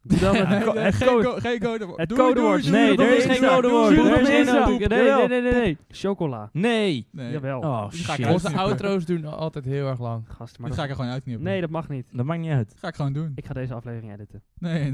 doe dan het, Nee, co- nee, het geen code. co- geen codewoord. Het Doei, doei, codewoord. doei, Nee, doei, er is doei, geen doei, rode doei, woord. doei, er Er is is geen doei, geen doei, rode rode woord. doei. woord. Jawel. Nee, nee, nee, nee. Chocola. Nee. Nee, Jawel. Oh, Die ga ik shit. uit- Onze outro's doen altijd heel erg lang. Gast, maar dit ga dat- ik er gewoon uitknippen. Nee, dat mag niet. Dat maakt niet uit. Dat ga ik gewoon doen. Ik ga deze aflevering editen. Nee,